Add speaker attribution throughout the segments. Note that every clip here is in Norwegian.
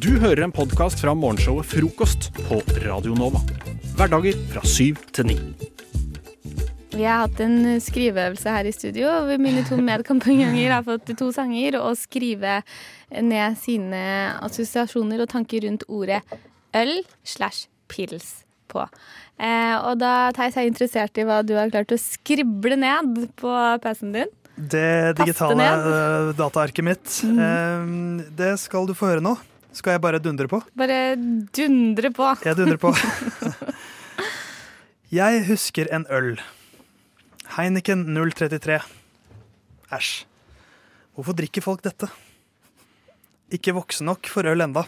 Speaker 1: Du hører en podkast fra morgenshowet Frokost på Radio Nova. Hverdager fra syv til ni.
Speaker 2: Vi har hatt en eh, skriveøvelse her i studio. og Mine to medkampanjonger har fått to sanger og skrive ned sine assosiasjoner og tanker rundt ordet øl slash pils på. Eh, og da Theis er jeg interessert i hva du har klart å skrible ned på PC-en din.
Speaker 3: Det
Speaker 2: Taste
Speaker 3: digitale
Speaker 2: ned.
Speaker 3: eh, dataarket mitt. eh, Det skal du få høre nå. Skal jeg bare dundre på?
Speaker 2: Bare dundre på.
Speaker 3: Jeg dundrer på. Jeg husker en øl. Heineken 033. Æsj. Hvorfor drikker folk dette? Ikke voksen nok for øl enda.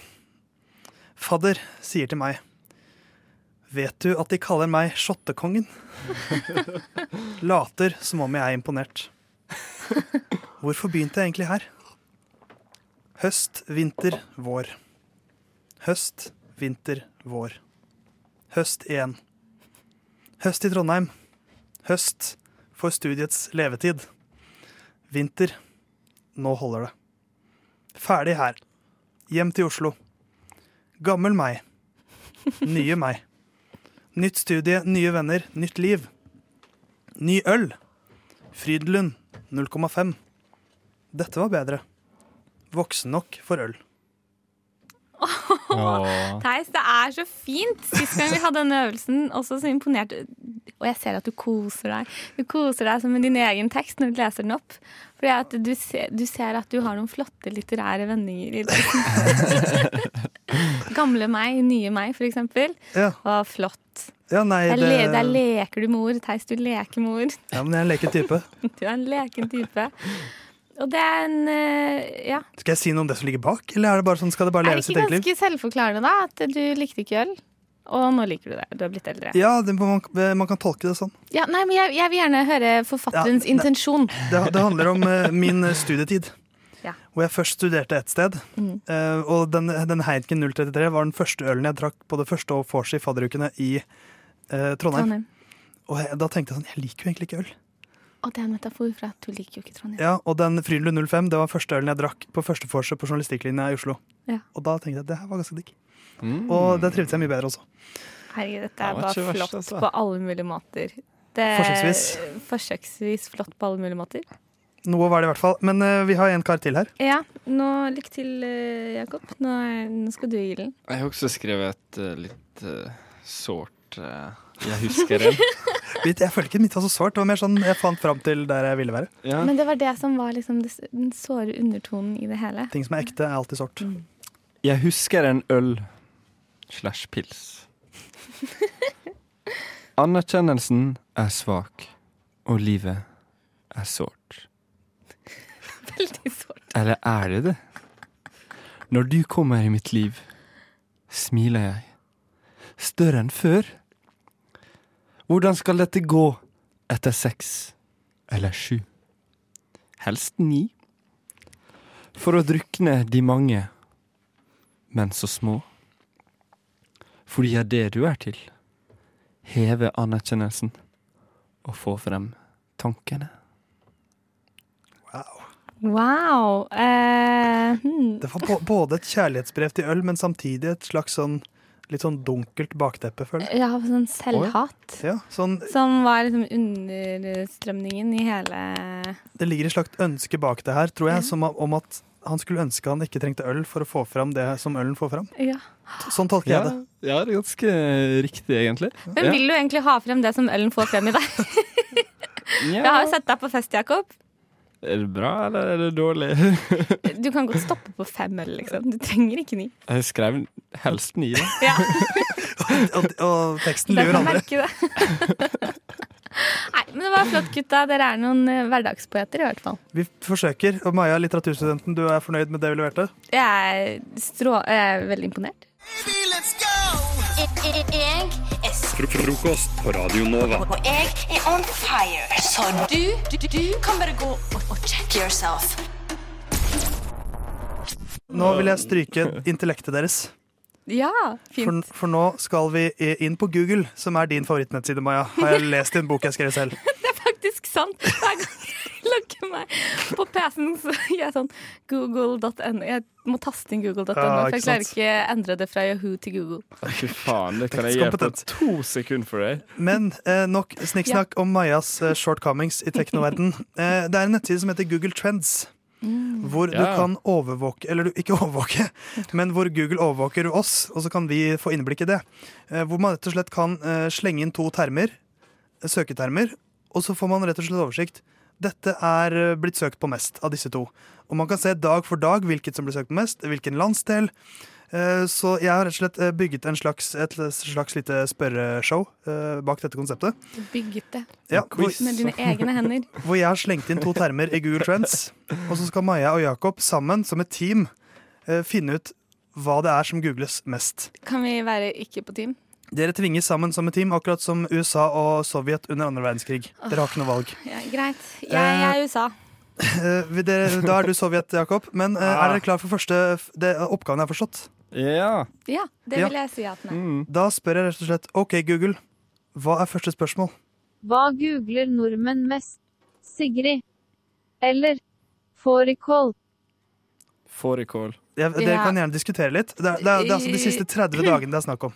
Speaker 3: Fadder sier til meg. Vet du at de kaller meg Shottekongen? Later som om jeg er imponert. Hvorfor begynte jeg egentlig her? Høst, vinter, vår. Høst, vinter, vår. Høst igjen. Høst i Trondheim. Høst for studiets levetid. Vinter. Nå holder det. Ferdig her. Hjem til Oslo. Gammel meg. Nye meg. Nytt studie, nye venner, nytt liv. Ny øl. Frydenlund 0,5. Dette var bedre. Voksen nok for øl.
Speaker 2: Theis, det er så fint! Sist gang vi hadde denne øvelsen, også så imponert Og jeg ser at du koser deg. Du koser deg som med din egen tekst når du leser den opp. Fordi at du, ser, du ser at du har noen flotte litterære vendinger i teksten. Gamle meg, nye meg, for eksempel.
Speaker 3: Ja.
Speaker 2: Og flott.
Speaker 3: Ja, nei,
Speaker 2: Der, le, der
Speaker 3: det,
Speaker 2: leker du med ord. Theis, du leker med ord.
Speaker 3: ja, men jeg er en leken type.
Speaker 2: Du er en leken type. Og det er en eh, Ja.
Speaker 3: Skal jeg si noe om det som ligger bak, eller er det bare sånn, skal det bare
Speaker 2: Er
Speaker 3: leve
Speaker 2: det
Speaker 3: sitt
Speaker 2: ikke
Speaker 3: eget liv?
Speaker 2: ganske selvforklarende, da? At du likte ikke øl, og nå liker du det. Du har blitt eldre.
Speaker 3: Ja, det, man, man kan tolke det sånn.
Speaker 2: Ja, nei, men jeg, jeg vil gjerne høre forfatterens
Speaker 3: Ja, nei.
Speaker 2: intensjon.
Speaker 3: Det, det handler om eh, min studietid.
Speaker 2: Ja.
Speaker 3: Hvor jeg først studerte ett sted.
Speaker 2: Mm.
Speaker 3: eh, og den, den Heineken 033 var den første ølen jeg drakk både første og vors i fadderukene i eh, Trondheim.
Speaker 2: Trondheim.
Speaker 3: Og jeg, da tenkte jeg sånn, jeg liker jo egentlig ikke øl.
Speaker 2: Å, det er en metafor for at du liker jo ikke Trondheim.
Speaker 3: Ja, Og den Frydenlund 05 det var første ølen jeg drakk på første vorset på journalistikklinja i Oslo.
Speaker 2: Ja.
Speaker 3: Og da tenkte jeg at det her var ganske digg. Og det trivdes jeg mye bedre også.
Speaker 2: Herregud, dette er
Speaker 4: var
Speaker 2: bare
Speaker 4: ikke verst,
Speaker 2: flott
Speaker 4: altså.
Speaker 2: på alle mulige måter. Det er
Speaker 3: Forsøksvis.
Speaker 2: Forsøksvis flott på alle mulige måter.
Speaker 3: Noe var det i hvert fall. Men eh, vi har en kar til her.
Speaker 2: Ja, nå lykke til, eh, Jakob. Nå, er, nå skal du i ilden.
Speaker 4: Jeg har også skrevet et eh, litt eh, sårt eh, Jeg husker en.
Speaker 3: Jeg føler ikke mitt var så sårt. Det var mer sånn jeg fant fram til der jeg ville være.
Speaker 4: Ja.
Speaker 2: Men det var det som var liksom det s- den såre undertonen i det hele.
Speaker 3: Ting som er ekte, er alltid sårt.
Speaker 2: Mm.
Speaker 4: Jeg husker en øl slash pils. Anerkjennelsen er svak, og livet er sårt.
Speaker 2: Veldig sårt.
Speaker 4: Eller er det det? Når du kommer i mitt liv, smiler jeg. Større enn før. Hvordan skal dette gå etter seks eller sju? Helst ni. For å drukne de mange, men så små. Fordi det er det du er til. Heve anerkjennelsen og få frem tankene.
Speaker 2: Wow. Eh, hmm.
Speaker 3: Det var bå- både et kjærlighetsbrev til øl, men samtidig et slags sånn litt sånn dunkelt bakteppe, føler jeg.
Speaker 2: Jeg har sånn selvhat.
Speaker 3: Ja, sånn,
Speaker 2: Som var liksom understrømningen i hele
Speaker 3: det ligger et slags ønske bak det her, tror jeg, som om- om at han skulle ønske han ikke trengte øl for å få fram det som ølen får fram.
Speaker 2: Ja.
Speaker 3: Sånn tolker jeg det.
Speaker 4: ja, det er ganske riktig, egentlig.
Speaker 2: Men vil du egentlig ha frem det som ølen får frem i deg? Jeg har jo sett deg på fest, Jakob.
Speaker 4: Er det bra, eller er det dårlig?
Speaker 2: Du kan godt stoppe på fem øl, liksom. Du trenger ikke ni.
Speaker 4: Jeg skrev helst ni, da.
Speaker 2: Ja,
Speaker 3: Og, og teksten
Speaker 2: jeg
Speaker 3: lurer
Speaker 2: kan
Speaker 3: andre.
Speaker 2: merke det. Nei, men det var flott, gutta. Dere er noen eh, hverdagspoeter, i hvert fall.
Speaker 3: Vi forsøker. Og Maja, litteraturstudenten, du er fornøyd med det vi leverte?
Speaker 2: Jeg er, strå jeg er veldig imponert.
Speaker 5: Jeg, jeg, jeg, er s-
Speaker 1: Frokost på Radio Nova.
Speaker 5: og jeg er on fire. Så du, du, du kan bare gå og, og check yourself.
Speaker 3: Nå vil jeg stryke intellektet deres.
Speaker 2: Ja,
Speaker 3: For,
Speaker 2: fint.
Speaker 3: for nå skal vi i- inn på Google, som er din favorittnettside, Maja. Har jeg lest i en bok jeg skrev selv.
Speaker 2: Det er faktisk sant. Hver gang jeg logge meg på PC-en, så gjør jeg sånn google.no. Jeg må taste inn google.no, for
Speaker 3: Ja, ikke
Speaker 2: jeg klarer
Speaker 3: sant.
Speaker 2: ikke endre det fra Yahoo til Google.
Speaker 4: Fy faen, det kan jeg gjøre på
Speaker 3: Kompetent.
Speaker 4: to sekunder for deg.
Speaker 3: Men eh, nok snikksnakk om Majas eh, shortcomings i teknoverden. Eh, det er en nettside som heter Google Trends. Hvor
Speaker 4: Ja.
Speaker 3: du kan overvåke Eller du, ikke overvåke, men hvor Google overvåker oss, og så kan vi få innblikk i det. Eh, hvor man rett og slett kan eh, slenge inn to termer, eh, søketermer, og så får man rett og slett oversikt. Dette er eh, blitt søkt på mest av disse to. Og man kan se dag for dag hvilket som blir søkt på mest, hvilken landsdel. Eh, Så jeg har rett og slett eh, bygget en slags, et slags lite spørreshow eh, bak dette konseptet.
Speaker 2: Du bygget det
Speaker 3: Ja, hvor,
Speaker 2: med dine egne hender.
Speaker 3: hvor jeg har slengt inn to termer i Google Trends. Og så skal Maja og Jakob sammen som et team eh, finne ut hva det er som googles mest.
Speaker 2: Kan vi være ikke på team?
Speaker 3: Dere tvinges sammen som et team, akkurat som USA og Sovjet under andre verdenskrig. Dere har ikke noe valg.
Speaker 2: Ja, greit. Jeg, jeg er USA.
Speaker 3: Eh, vil dere, da er du Sovjet, Jakob. Men eh, er dere klar for første f- det, oppgaven jeg har forstått?
Speaker 4: Ah. Ja.
Speaker 2: Ja, det
Speaker 3: Ja.
Speaker 2: vil jeg si at den er.
Speaker 3: Da spør jeg rett og slett OK, Google, hva er første spørsmål?
Speaker 6: Hva googler nordmenn mest? Sigrid. Eller fårikål.
Speaker 4: Fårikål.
Speaker 3: Jeg, Dere
Speaker 2: Ja.
Speaker 3: kan gjerne diskutere litt. Det, er- det, er- det er altså de siste 30 dagene det er snakk om.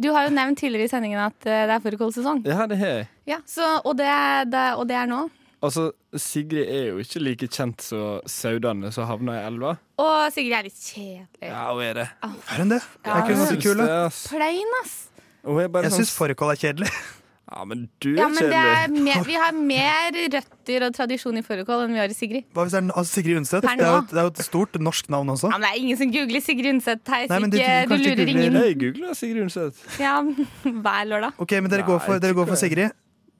Speaker 2: Du har jo nevnt tidligere i sendingen at eh, det er fårikålsesong.
Speaker 4: Ja, det har jeg.
Speaker 2: Ja, så- og, det- det- og det er nå.
Speaker 4: Altså, Sigrid er jo ikke like kjent som Saudane som havna i elva.
Speaker 2: Og Sigrid er litt kjedelig.
Speaker 4: Ja, hun er det.
Speaker 3: Er hun det?
Speaker 2: Ja,
Speaker 3: Er ikke hun
Speaker 2: hun
Speaker 3: ganske kul, da?
Speaker 2: Plain, ass.
Speaker 4: Hun er bare
Speaker 3: Jeg
Speaker 4: sånn
Speaker 3: syns fårikål er kjedelig.
Speaker 4: Ja, men du er
Speaker 2: Ja, men det er
Speaker 4: kjedelig.
Speaker 2: mer, vi har mer røtter og tradisjon i fårikål enn vi har i Sigrid.
Speaker 3: Hva hvis det er altså Sigrid Undset?
Speaker 2: Per nå.
Speaker 3: Det er, jo et, det er jo et stort norsk navn også.
Speaker 2: Ja, men det er ingen som googler Sigrid Undset her.
Speaker 3: Nei,
Speaker 2: så
Speaker 3: men du-
Speaker 2: ikke, du,
Speaker 3: du kan ikke
Speaker 2: lurer
Speaker 3: google-
Speaker 2: ingen
Speaker 4: Jeg googla Sigrid Undset.
Speaker 2: ja, hver lørdag.
Speaker 3: Ok, men Dere, går, for,
Speaker 4: Nei,
Speaker 3: dere går
Speaker 4: ikke
Speaker 3: for Sigrid?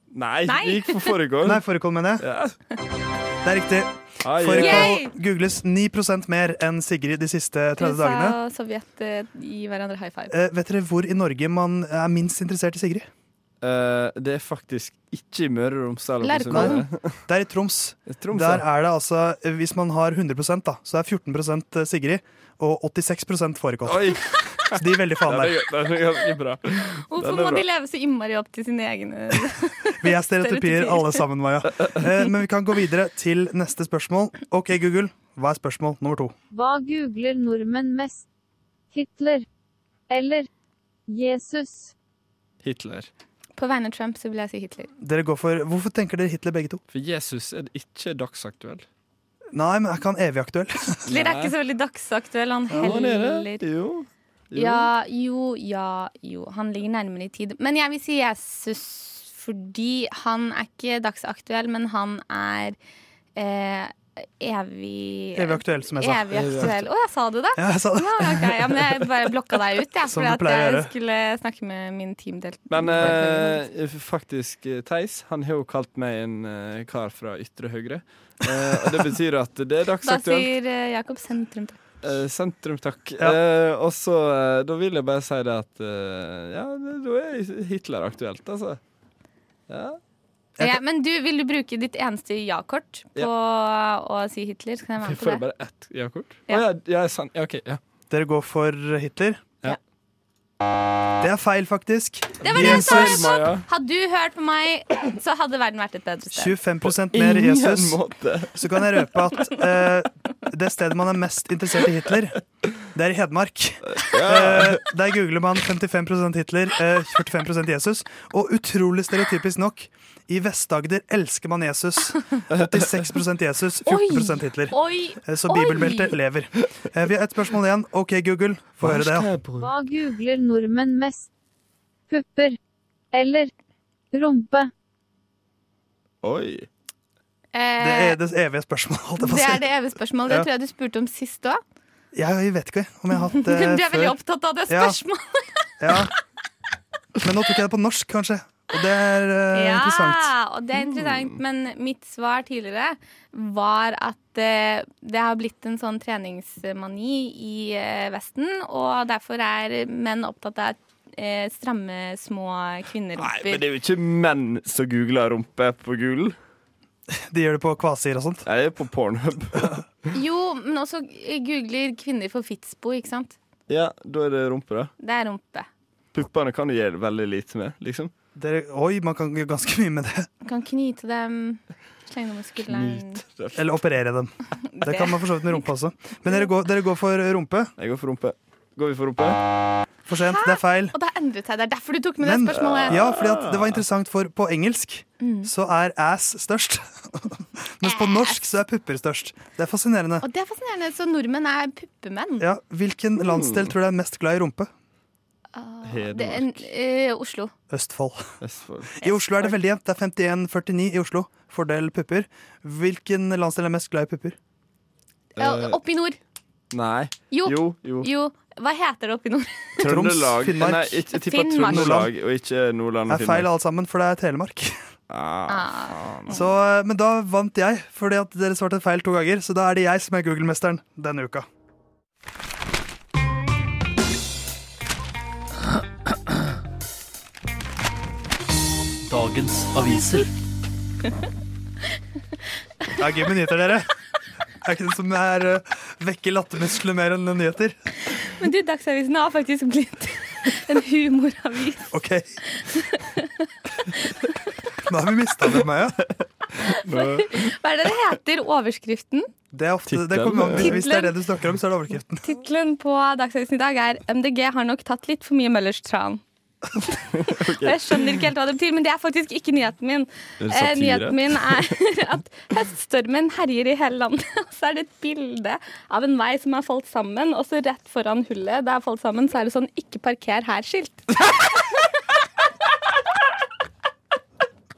Speaker 4: Nei,
Speaker 2: Nei.
Speaker 4: vi gikk for fårikål.
Speaker 3: Nei, fårikål, mener jeg.
Speaker 4: Ja.
Speaker 3: Det er riktig.
Speaker 4: Ah, ja.
Speaker 2: Yay!
Speaker 3: Fårikål googles 9 mer enn Sigrid de siste 30 dagene.
Speaker 2: og Sovjet eh, gir hverandre high five.
Speaker 3: Eh, vet dere hvor i Norge man er minst interessert i Sigrid?
Speaker 4: Eh, det er faktisk ikke i Møre og Romsdal. og
Speaker 2: Lerkollen.
Speaker 4: Sunnmøre.
Speaker 3: Det er i Troms.
Speaker 4: Troms,
Speaker 3: Der
Speaker 4: ja.
Speaker 3: er det altså, eh, Hvis man har 100 da, så er 14 Sigrid og 86 fårikål.
Speaker 4: Oi!
Speaker 3: Så de er veldig faen
Speaker 4: Den er,
Speaker 3: der.
Speaker 4: den er ganske bra.
Speaker 2: Hvorfor
Speaker 4: den er
Speaker 2: må
Speaker 4: bra.
Speaker 2: de leve så innmari opp til sine egne
Speaker 3: Vi er stereotypier alle sammen, Maja. Eh, men vi kan gå videre til neste spørsmål. OK, Google, hva er spørsmål nummer to?
Speaker 6: Hva googler nordmenn mest? Hitler. Eller Jesus.
Speaker 4: Hitler.
Speaker 2: På vegne av Trump så vil jeg si Hitler.
Speaker 3: Dere går for, hvorfor tenker dere Hitler begge to?
Speaker 4: For Jesus er ikke dagsaktuell.
Speaker 3: Nei, men er ikke han evig aktuell?
Speaker 2: Hitler er ikke så veldig dagsaktuell. Han
Speaker 4: Ja, han er det.
Speaker 2: heller
Speaker 4: Jo. Jo.
Speaker 2: Ja, jo, ja, jo. Han ligger nærmere i tid. Men jeg vil si Jesus fordi han er ikke dagsaktuell, men han er eh, evig
Speaker 3: Evig aktuell, som jeg sa.
Speaker 2: Evig aktuell. Å, jeg sa det, da!
Speaker 3: Ja, jeg sa det.
Speaker 2: Ja, ok. ja, men jeg bare blokka deg ut, jeg,
Speaker 3: Som
Speaker 2: fordi
Speaker 3: du
Speaker 2: at
Speaker 3: pleier å
Speaker 2: jeg
Speaker 3: gjøre.
Speaker 2: skulle snakke med min teamdelt.
Speaker 4: Men eh, faktisk, eh, Theis han har jo kalt meg en eh, kar fra ytre høyre. Eh, og det betyr at det er
Speaker 2: Da
Speaker 4: dagsaktuelt.
Speaker 2: sier eh, Jakob sentrum.
Speaker 4: Eh, sentrum, takk.
Speaker 3: Ja.
Speaker 4: Eh, og så eh, da vil jeg bare si det at eh, Ja, det- da er Hitler aktuelt, altså. Ja.
Speaker 2: Ja, Eh, men du, vil du bruke ditt eneste ja-kort på å si Hitler? Så kan jeg
Speaker 4: Jeg
Speaker 2: være med
Speaker 4: får
Speaker 2: på det.
Speaker 4: bare ett ja-kort. Å
Speaker 2: Ja.
Speaker 4: ja, ja, sant. Ja, OK. Ja.
Speaker 3: Dere går for Hitler?
Speaker 4: Ja.
Speaker 3: Det er feil, faktisk.
Speaker 2: Det var det jeg sa!
Speaker 4: Jesus, Maja.
Speaker 2: Jakob! Hadde du hørt på meg, så hadde verden vært et bedre sted.
Speaker 3: 25 mer Jesus.
Speaker 4: måte.
Speaker 3: Så kan jeg røpe at eh, det stedet man er mest interessert i Hitler, det er i Hedmark. Eh, der googler man 55 Hitler, eh, 45 Jesus. Og utrolig stereotypisk nok, i Vest-Agder elsker man Jesus. 86 Jesus, 14 Hitler.
Speaker 2: Oi!
Speaker 3: Eh, Så
Speaker 2: Oi.
Speaker 3: bibelbeltet lever. Eh, Vi har ett spørsmål igjen. OK, Google, få høre det. ja.
Speaker 6: Hva googler nordmenn mest? Pupper. Eller rumpe.
Speaker 4: Oi.
Speaker 3: Det
Speaker 2: Eh,
Speaker 3: er det evige spørsmålet. holdt jeg på å
Speaker 2: det
Speaker 3: si.
Speaker 2: er det evige spørsmålet. Det tror jeg du spurte om sist òg.
Speaker 3: Jeg vet ikke om jeg har hatt det
Speaker 2: Du er veldig
Speaker 3: før.
Speaker 2: opptatt av det
Speaker 3: Ja.
Speaker 2: spørsmålet.
Speaker 3: Ja. Men nå tok jeg det på norsk, kanskje. Og det er eh, interessant.
Speaker 2: Ja, og det er interessant, men mitt svar tidligere var at eh, det har blitt en sånn treningsmani i eh, Vesten, og derfor er menn opptatt av eh, stramme, små
Speaker 4: Nei, men
Speaker 2: kvinnerumper.
Speaker 4: det er jo ikke menn som googler rumpe på Google.
Speaker 3: De gjør det på kvasier og sånt.
Speaker 4: Jeg er på Pornhub.
Speaker 2: Jo, men også googler kvinner for Fitsbo, ikke sant?
Speaker 4: Ja, da er det rumpe, da.
Speaker 2: Det er rumpe.
Speaker 4: Puppene kan du gjøre veldig lite med, liksom.
Speaker 3: Dere, oi, man kan gjøre ganske mye med det.
Speaker 2: Kan knyte dem, slenge dem i skulderen.
Speaker 3: Eller operere dem. Det kan man for så vidt med rumpa også. Men dere går, dere går for rumpe.
Speaker 4: Jeg går for rumpe. Går vi for rumpe?
Speaker 3: For sent. Det er feil.
Speaker 2: Og det har endret seg. Det er derfor du tok med det
Speaker 3: Men-
Speaker 2: spørsmålet. Mm.
Speaker 3: Ja, fordi at det var interessant, for på engelsk så er ass størst. Mens på norsk så er pupper størst. Det er fascinerende.
Speaker 2: Og det er fascinerende. Så nordmenn er puppemenn.
Speaker 3: Ja, Hvilken landsdel tror du er mest glad i rumpe?
Speaker 2: Ah, Det er en, eh, Oslo.
Speaker 3: Østfold.
Speaker 4: Vestfold.
Speaker 3: I Oslo er det veldig jevnt. Det er 51-49 i Oslo. Fordel pupper. Hvilken landsdel er mest glad i pupper?
Speaker 2: Ja,
Speaker 4: Eh,
Speaker 2: oppe i nord.
Speaker 4: Nei.
Speaker 2: Jo.
Speaker 4: Jo, jo.
Speaker 2: Jo. Hva heter det oppe i nord?
Speaker 3: Troms,
Speaker 4: Trøndelag.
Speaker 3: Finnmark.
Speaker 4: Nei, jeg, jeg tipper
Speaker 2: Finnmark.
Speaker 4: Trøndelag og ikke Nordland
Speaker 3: Det
Speaker 4: og
Speaker 3: er feil
Speaker 4: Finnmark.
Speaker 3: alt sammen, for det er Telemark.
Speaker 4: Ah,
Speaker 3: Så, eh, men da vant jeg, fordi at dere svarte feil to ganger. Så da er det jeg som er Google-mesteren denne uka.
Speaker 7: Dagens aviser.
Speaker 3: Det er gøy med nyheter, dere. Det er ikke det som er, eh, vekker lattermusklene mer enn nyheter.
Speaker 2: Men du, Dagsavisen har faktisk blitt en humoravis.
Speaker 3: OK. Nå har vi mista det, Maja.
Speaker 2: Hva er det det heter? Overskriften?
Speaker 3: Det er ofte, det
Speaker 4: Tittelen.
Speaker 3: kommer an, hvis det
Speaker 2: Tittelen.
Speaker 3: er det du snakker om, så er det overskriften.
Speaker 2: Tittelen på Dagsavisen i dag er 'MDG har nok tatt litt for mye Møllers tran'. Og Jeg skjønner ikke helt hva det betyr, men det er faktisk ikke nyheten min.
Speaker 4: Er det
Speaker 2: Eh,
Speaker 4: satire?
Speaker 2: nyheten min er at høststormen herjer i hele landet. Og så er det et bilde av en vei som er falt sammen, og så rett foran hullet det er falt sammen, så er det sånn 'ikke parker her'-skilt.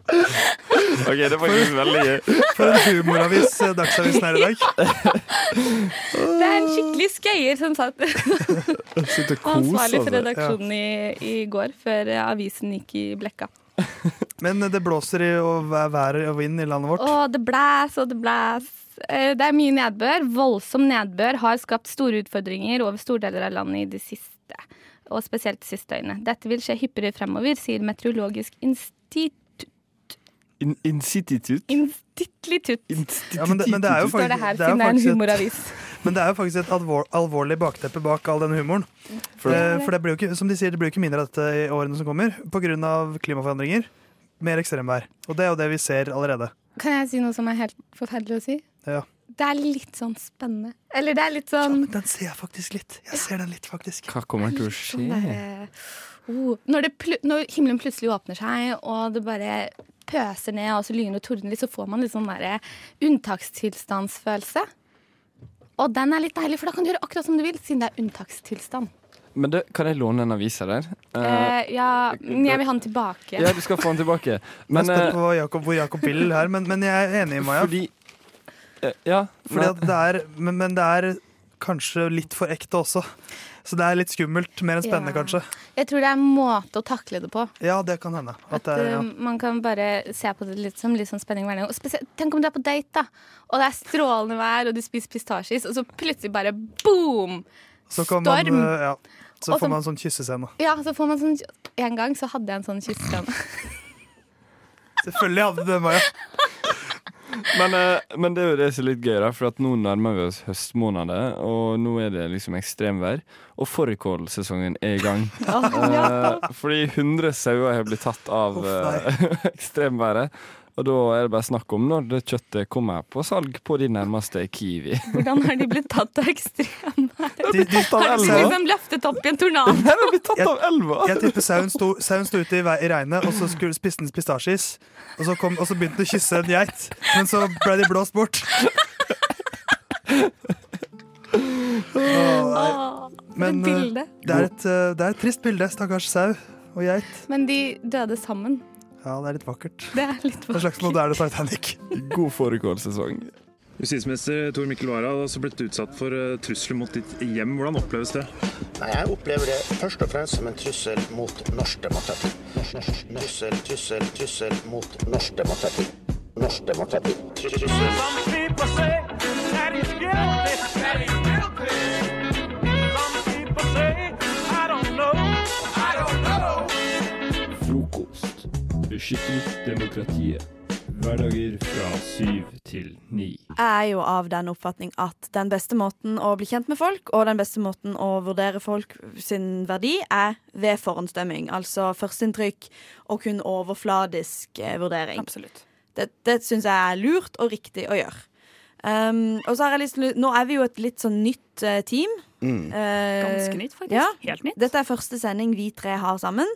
Speaker 4: OK, det er faktisk veldig gøy.
Speaker 3: For en humoravis eh, Dagsavisen er i dag.
Speaker 2: Det er en skikkelig skøyer som satt
Speaker 4: Sitter og
Speaker 2: ansvarlig for
Speaker 4: koser seg.
Speaker 2: redaksjonen i, i går, før eh, avisen gikk i blekka.
Speaker 3: Men eh, det blåser i og er vær og vind i landet vårt.
Speaker 2: Og det blæs og det blæs. Eh, Det er mye nedbør. Voldsom nedbør har skapt store utfordringer over store deler av landet i det siste. Og spesielt de siste døgnet. Dette vil skje hyppigere fremover, sier Meteorologisk institutt.
Speaker 4: In Institutt.
Speaker 2: Institutt.
Speaker 3: Ja, men, det, men det er jo
Speaker 2: Står det
Speaker 3: faktisk,
Speaker 2: her,
Speaker 3: det er jo
Speaker 2: siden det er en humoravis.
Speaker 3: faktisk et Men det er jo faktisk et alvor, alvorlig bakteppe bak all den humoren. For, eh, for det blir jo ikke, som de sier, det blir jo ikke mindre av dette i årene som kommer pga. klimaforandringer. Mer ekstremvær. Og det er jo det vi ser allerede.
Speaker 2: Kan jeg si noe som er helt forferdelig å si?
Speaker 3: Ja.
Speaker 2: Det er litt sånn spennende. Eller det er litt sånn
Speaker 3: Den ser jeg faktisk litt. Jeg ser den litt, faktisk.
Speaker 5: Hva kommer til å
Speaker 2: Sånn
Speaker 5: skje?
Speaker 2: derre- oh, når, det plu når himmelen plutselig åpner seg, og det bare pøser ned, og så lyner og tordner litt, så får man litt sånn derre unntakstilstandsfølelse. Og den er litt deilig, for da kan du gjøre akkurat som du vil, siden det er unntakstilstand.
Speaker 5: Men det, kan jeg låne en avis av der? Eh,
Speaker 2: Eh, ja, men jeg vil ha den tilbake.
Speaker 5: ja, du skal få den tilbake.
Speaker 3: Jeg er
Speaker 5: Men
Speaker 3: spent
Speaker 5: eh,
Speaker 3: på hva Jakob, hvor Jakob vil her, men, men jeg er enig i Maja.
Speaker 5: fordi eh, Ja.
Speaker 3: Fordi at det er, men, men det er kanskje litt for ekte også. Så det er litt skummelt. Mer enn spennende,
Speaker 2: Ja.
Speaker 3: kanskje.
Speaker 2: Jeg tror det er en måte å takle det på.
Speaker 3: Ja, det kan hende. At
Speaker 2: At
Speaker 3: det er, ja.
Speaker 2: eh, man kan bare se på det litt som litt sånn spenning hver dag. Og spesielt- Tenk om du er på date, da, og det er strålende vær, og du spiser pistasjeis, og så plutselig bare boom!
Speaker 3: Så kan man,
Speaker 2: storm.
Speaker 3: eh, ja. Så
Speaker 2: Og så-
Speaker 3: får man en sånn kyssescene.
Speaker 2: Ja, så får man sånn En gang så hadde jeg en sånn kysseklem.
Speaker 3: Selvfølgelig hadde du det, Maja.
Speaker 4: Men, eh, men det er jo det som er litt gøy, da, for at nå nærmer vi oss høstmåneder, og nå er det liksom ekstremvær. Og fårikålsesongen er i gang. Eh, Fordi 100 sauer har blitt tatt av
Speaker 3: Uff,
Speaker 4: eh, ekstremværet. Og da er det bare snakk om når det kjøttet kommer på salg på de nærmeste Kiwi.
Speaker 2: Hvordan har de blitt tatt av ekstrem?
Speaker 3: De, de,
Speaker 2: Har de
Speaker 3: sauer-
Speaker 2: liksom løftet opp i en tornado?
Speaker 4: Her har blitt tatt av elva!
Speaker 3: Jeg tipper sauen sto, sauen sto ute i, vei, i regnet, og så skulle, spiste den pistasjis. Og så, kom, og så begynte den å kysse en geit, men så ble de blåst bort. Åh, nei.
Speaker 2: Åh,
Speaker 3: Men,
Speaker 2: det bildet.
Speaker 3: det, er et, eh, det er et trist bilde, stakkars sau og geit.
Speaker 2: Men de døde sammen.
Speaker 3: Ja, det er litt vakkert.
Speaker 2: Det er litt
Speaker 3: En slags moderne Titanic.
Speaker 4: God fårikålsesong.
Speaker 8: Justisminister Tor Mikkel Wara har også blitt utsatt for eh, trusler mot ditt hjem. Hvordan oppleves det?
Speaker 9: Nei, Jeg opplever det først og fremst som en trussel mot norsk demokrati. Norsk, norsk, trussel, trussel, trussel mot norsk demokrati. Norsk demokrati. Trussel.
Speaker 10: Frokost. Beskytter demokratiet. Hverdager fra syv til ni. er jo av den oppfatning at den beste måten å bli kjent med folk, og den beste måten å vurdere folk sin verdi, er ved forhåndsdømming. Altså førsteinntrykk og kun overfladisk eh, vurdering.
Speaker 11: Absolutt.
Speaker 10: Det, det syns jeg er lurt og riktig å gjøre. Um, og så har jeg lyst til Nå er vi jo et litt sånn nytt eh, team.
Speaker 11: Mm.
Speaker 10: Eh,
Speaker 11: Ganske nytt, faktisk.
Speaker 10: Ja.
Speaker 11: Helt nytt.
Speaker 10: Dette er første sending vi tre har sammen.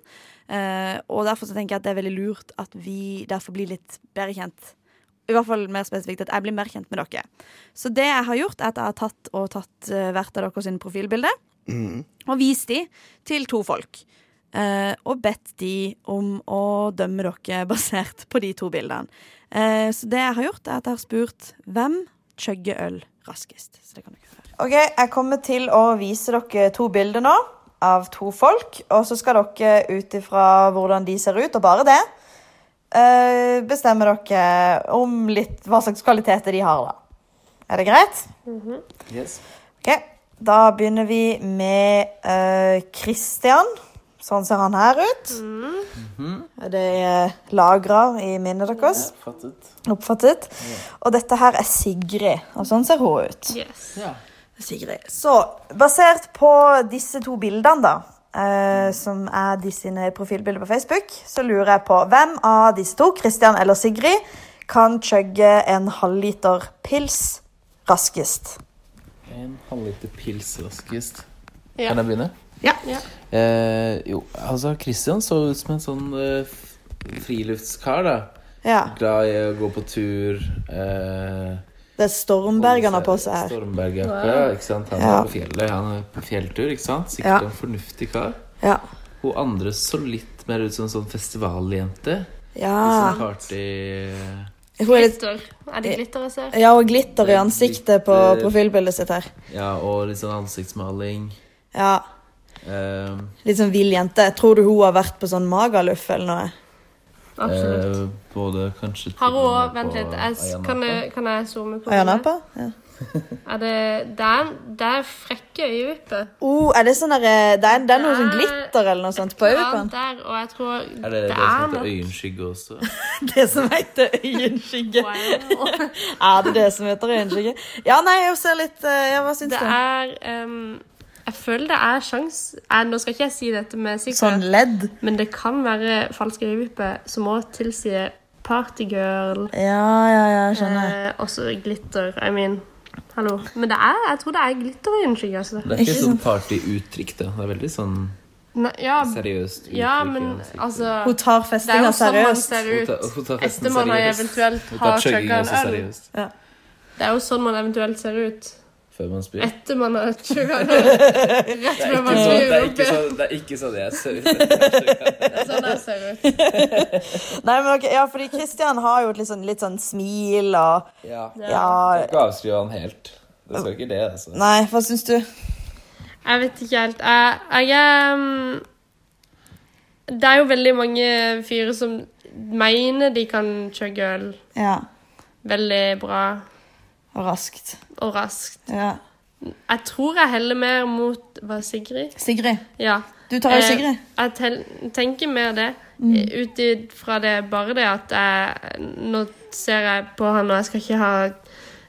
Speaker 10: Eh, og derfor så tenker jeg at det er veldig lurt at vi derfor blir litt bedre kjent. I hvert fall mer spesifikt at jeg blir mer kjent med dere. Så det jeg har gjort, er at jeg har tatt og tatt eh, hvert av deres profilbilde
Speaker 12: Mm.
Speaker 10: og vist de til to folk. eh, og bedt de om å dømme dere basert på de to bildene. Eh, så det jeg har gjort, er at jeg har spurt hvem chugger øl raskest. Så det kan dere gjøre. OK, jeg kommer til å vise dere to bilder nå av to folk. Og så skal dere ut ifra hvordan de ser ut, og bare det, eh, bestemme dere om litt hva slags kvaliteter de har, da. Er det greit?
Speaker 13: Mhm.
Speaker 12: Yes.
Speaker 10: Ok, da begynner vi med eh, Christian. Sånn ser han her ut.
Speaker 13: Mm. Mhm.
Speaker 10: Det er lagra i minnet deres. Oppfattet. Og dette her er Sigrid, og sånn ser hun ut. Sigrid. Så basert på disse to bildene, da, eh, som er de sine profilbilder på Facebook, så lurer jeg på hvem av disse to, Christian eller Sigrid, kan chugge en halvliter pils raskest?
Speaker 13: En halvliter pils raskest.
Speaker 10: Ja.
Speaker 13: Kan jeg begynne?
Speaker 10: Ja.
Speaker 13: Eh, jo, altså Christian så ut som en sånn eh, f- friluftskar, da.
Speaker 10: Ja.
Speaker 13: Glad i å gå på tur. Eh,
Speaker 10: Det er Stormbergene på seg her.
Speaker 13: Stormbergjakke,
Speaker 10: Wow.
Speaker 13: ikke sant. Han
Speaker 10: Ja.
Speaker 13: er på fjellet, han er på fjelltur, ikke sant.
Speaker 10: Ja.
Speaker 13: Sikkert en fornuftig kar.
Speaker 10: Ja.
Speaker 13: Hun andre så litt mer ut som en sånn festivaljente.
Speaker 10: Ja.
Speaker 13: Litt sånn party...
Speaker 10: Hun er litt-
Speaker 11: Er det glitter jeg ser?
Speaker 10: Ja, og glitter i ansiktet på
Speaker 13: Glitter.
Speaker 10: profilbildet sitt her.
Speaker 13: Ja, og litt sånn ansiktsmaling.
Speaker 10: Ja,
Speaker 13: Eh,
Speaker 10: Litt sånn vill jente. Tror du hun har vært på sånn Magaluf eller noe?
Speaker 13: eh, både kanskje til
Speaker 11: Har hun òg
Speaker 13: og med
Speaker 11: Vent
Speaker 13: på
Speaker 11: litt, jeg, s-
Speaker 13: Ayia
Speaker 11: kan,
Speaker 13: Napa.
Speaker 11: jeg, kan jeg zoome på
Speaker 10: Ayana
Speaker 11: bildet?
Speaker 10: på? Ja.
Speaker 11: Er det Det er, det er frekke øyevipper.
Speaker 10: Oh, er det sånn der, eh, det, er, det er noe sånn glitter eller noe sånt på
Speaker 11: Ja,
Speaker 10: øyevippen?
Speaker 11: der, og jeg tror
Speaker 13: Er det det, som heter øyenskygge også?
Speaker 10: Det som heter øyenskygge. er det det som heter øyenskygge? Ja, nei, jeg ser litt eh, Ja, hva syns
Speaker 11: Det
Speaker 10: du?
Speaker 11: er ehm, Jeg føler det er sjans eh, Nå skal ikke jeg si dette med sikkerhet,
Speaker 10: Sånn ledd?
Speaker 11: men det kan være falske øyevipper som òg tilsier partygirl.
Speaker 10: Ja, ja, ja, jeg skjønner.
Speaker 11: Eh, også glitter. I mean, hallo. Men det er, jeg tror det er glitterøyenskygge. Altså.
Speaker 13: Det er ikke sånn partyuttrykk, det. Det er veldig sånn
Speaker 11: Nei, ja,
Speaker 13: seriøst.
Speaker 11: ja, men altså
Speaker 10: Hun tar festinga seriøst.
Speaker 11: Det er jo
Speaker 13: Hun
Speaker 11: sånn man ser
Speaker 13: tar- hun tar
Speaker 11: ut
Speaker 13: festen
Speaker 11: etter man har
Speaker 13: seriøst.
Speaker 11: eventuelt
Speaker 13: Hun tar
Speaker 11: har
Speaker 13: chugging
Speaker 11: chugga
Speaker 13: også
Speaker 11: en øl.
Speaker 13: seriøst.
Speaker 11: Det er jo sånn man eventuelt ser ut
Speaker 13: Før man spyr.
Speaker 11: etter man har chugga en øl. Rett
Speaker 13: Det er
Speaker 11: før
Speaker 13: ikke
Speaker 11: man
Speaker 13: sånn, det
Speaker 11: spyr
Speaker 13: er
Speaker 11: opp
Speaker 13: ikke
Speaker 11: igjen.
Speaker 13: sånn, det er ikke sånn jeg ser
Speaker 11: Det er sånn jeg ser ut.
Speaker 10: Nei, men ok, ja, fordi Christian har jo et litt sånn, litt sånn smil og
Speaker 13: Ja.
Speaker 10: Ja.
Speaker 13: Jeg skal ikke avskrive han helt. Det skal ikke det, altså.
Speaker 10: Nei, hva syns du?
Speaker 11: Jeg vet ikke helt. Jeg, jeg er, mm, Det er jo veldig mange fyre som mener de kan chugge øl
Speaker 10: Ja.
Speaker 11: veldig bra
Speaker 10: Og raskt.
Speaker 11: og raskt.
Speaker 10: Ja.
Speaker 11: Jeg tror jeg heller mer mot Hva, Sigrid?
Speaker 10: Sigrid.
Speaker 11: Ja.
Speaker 10: Du tar jo Sigrid.
Speaker 11: Eh, jeg tel- tenker mer det.
Speaker 10: Mm.
Speaker 11: eh, Ut ifra det bare det at jeg Nå ser jeg på han, og jeg skal ikke ha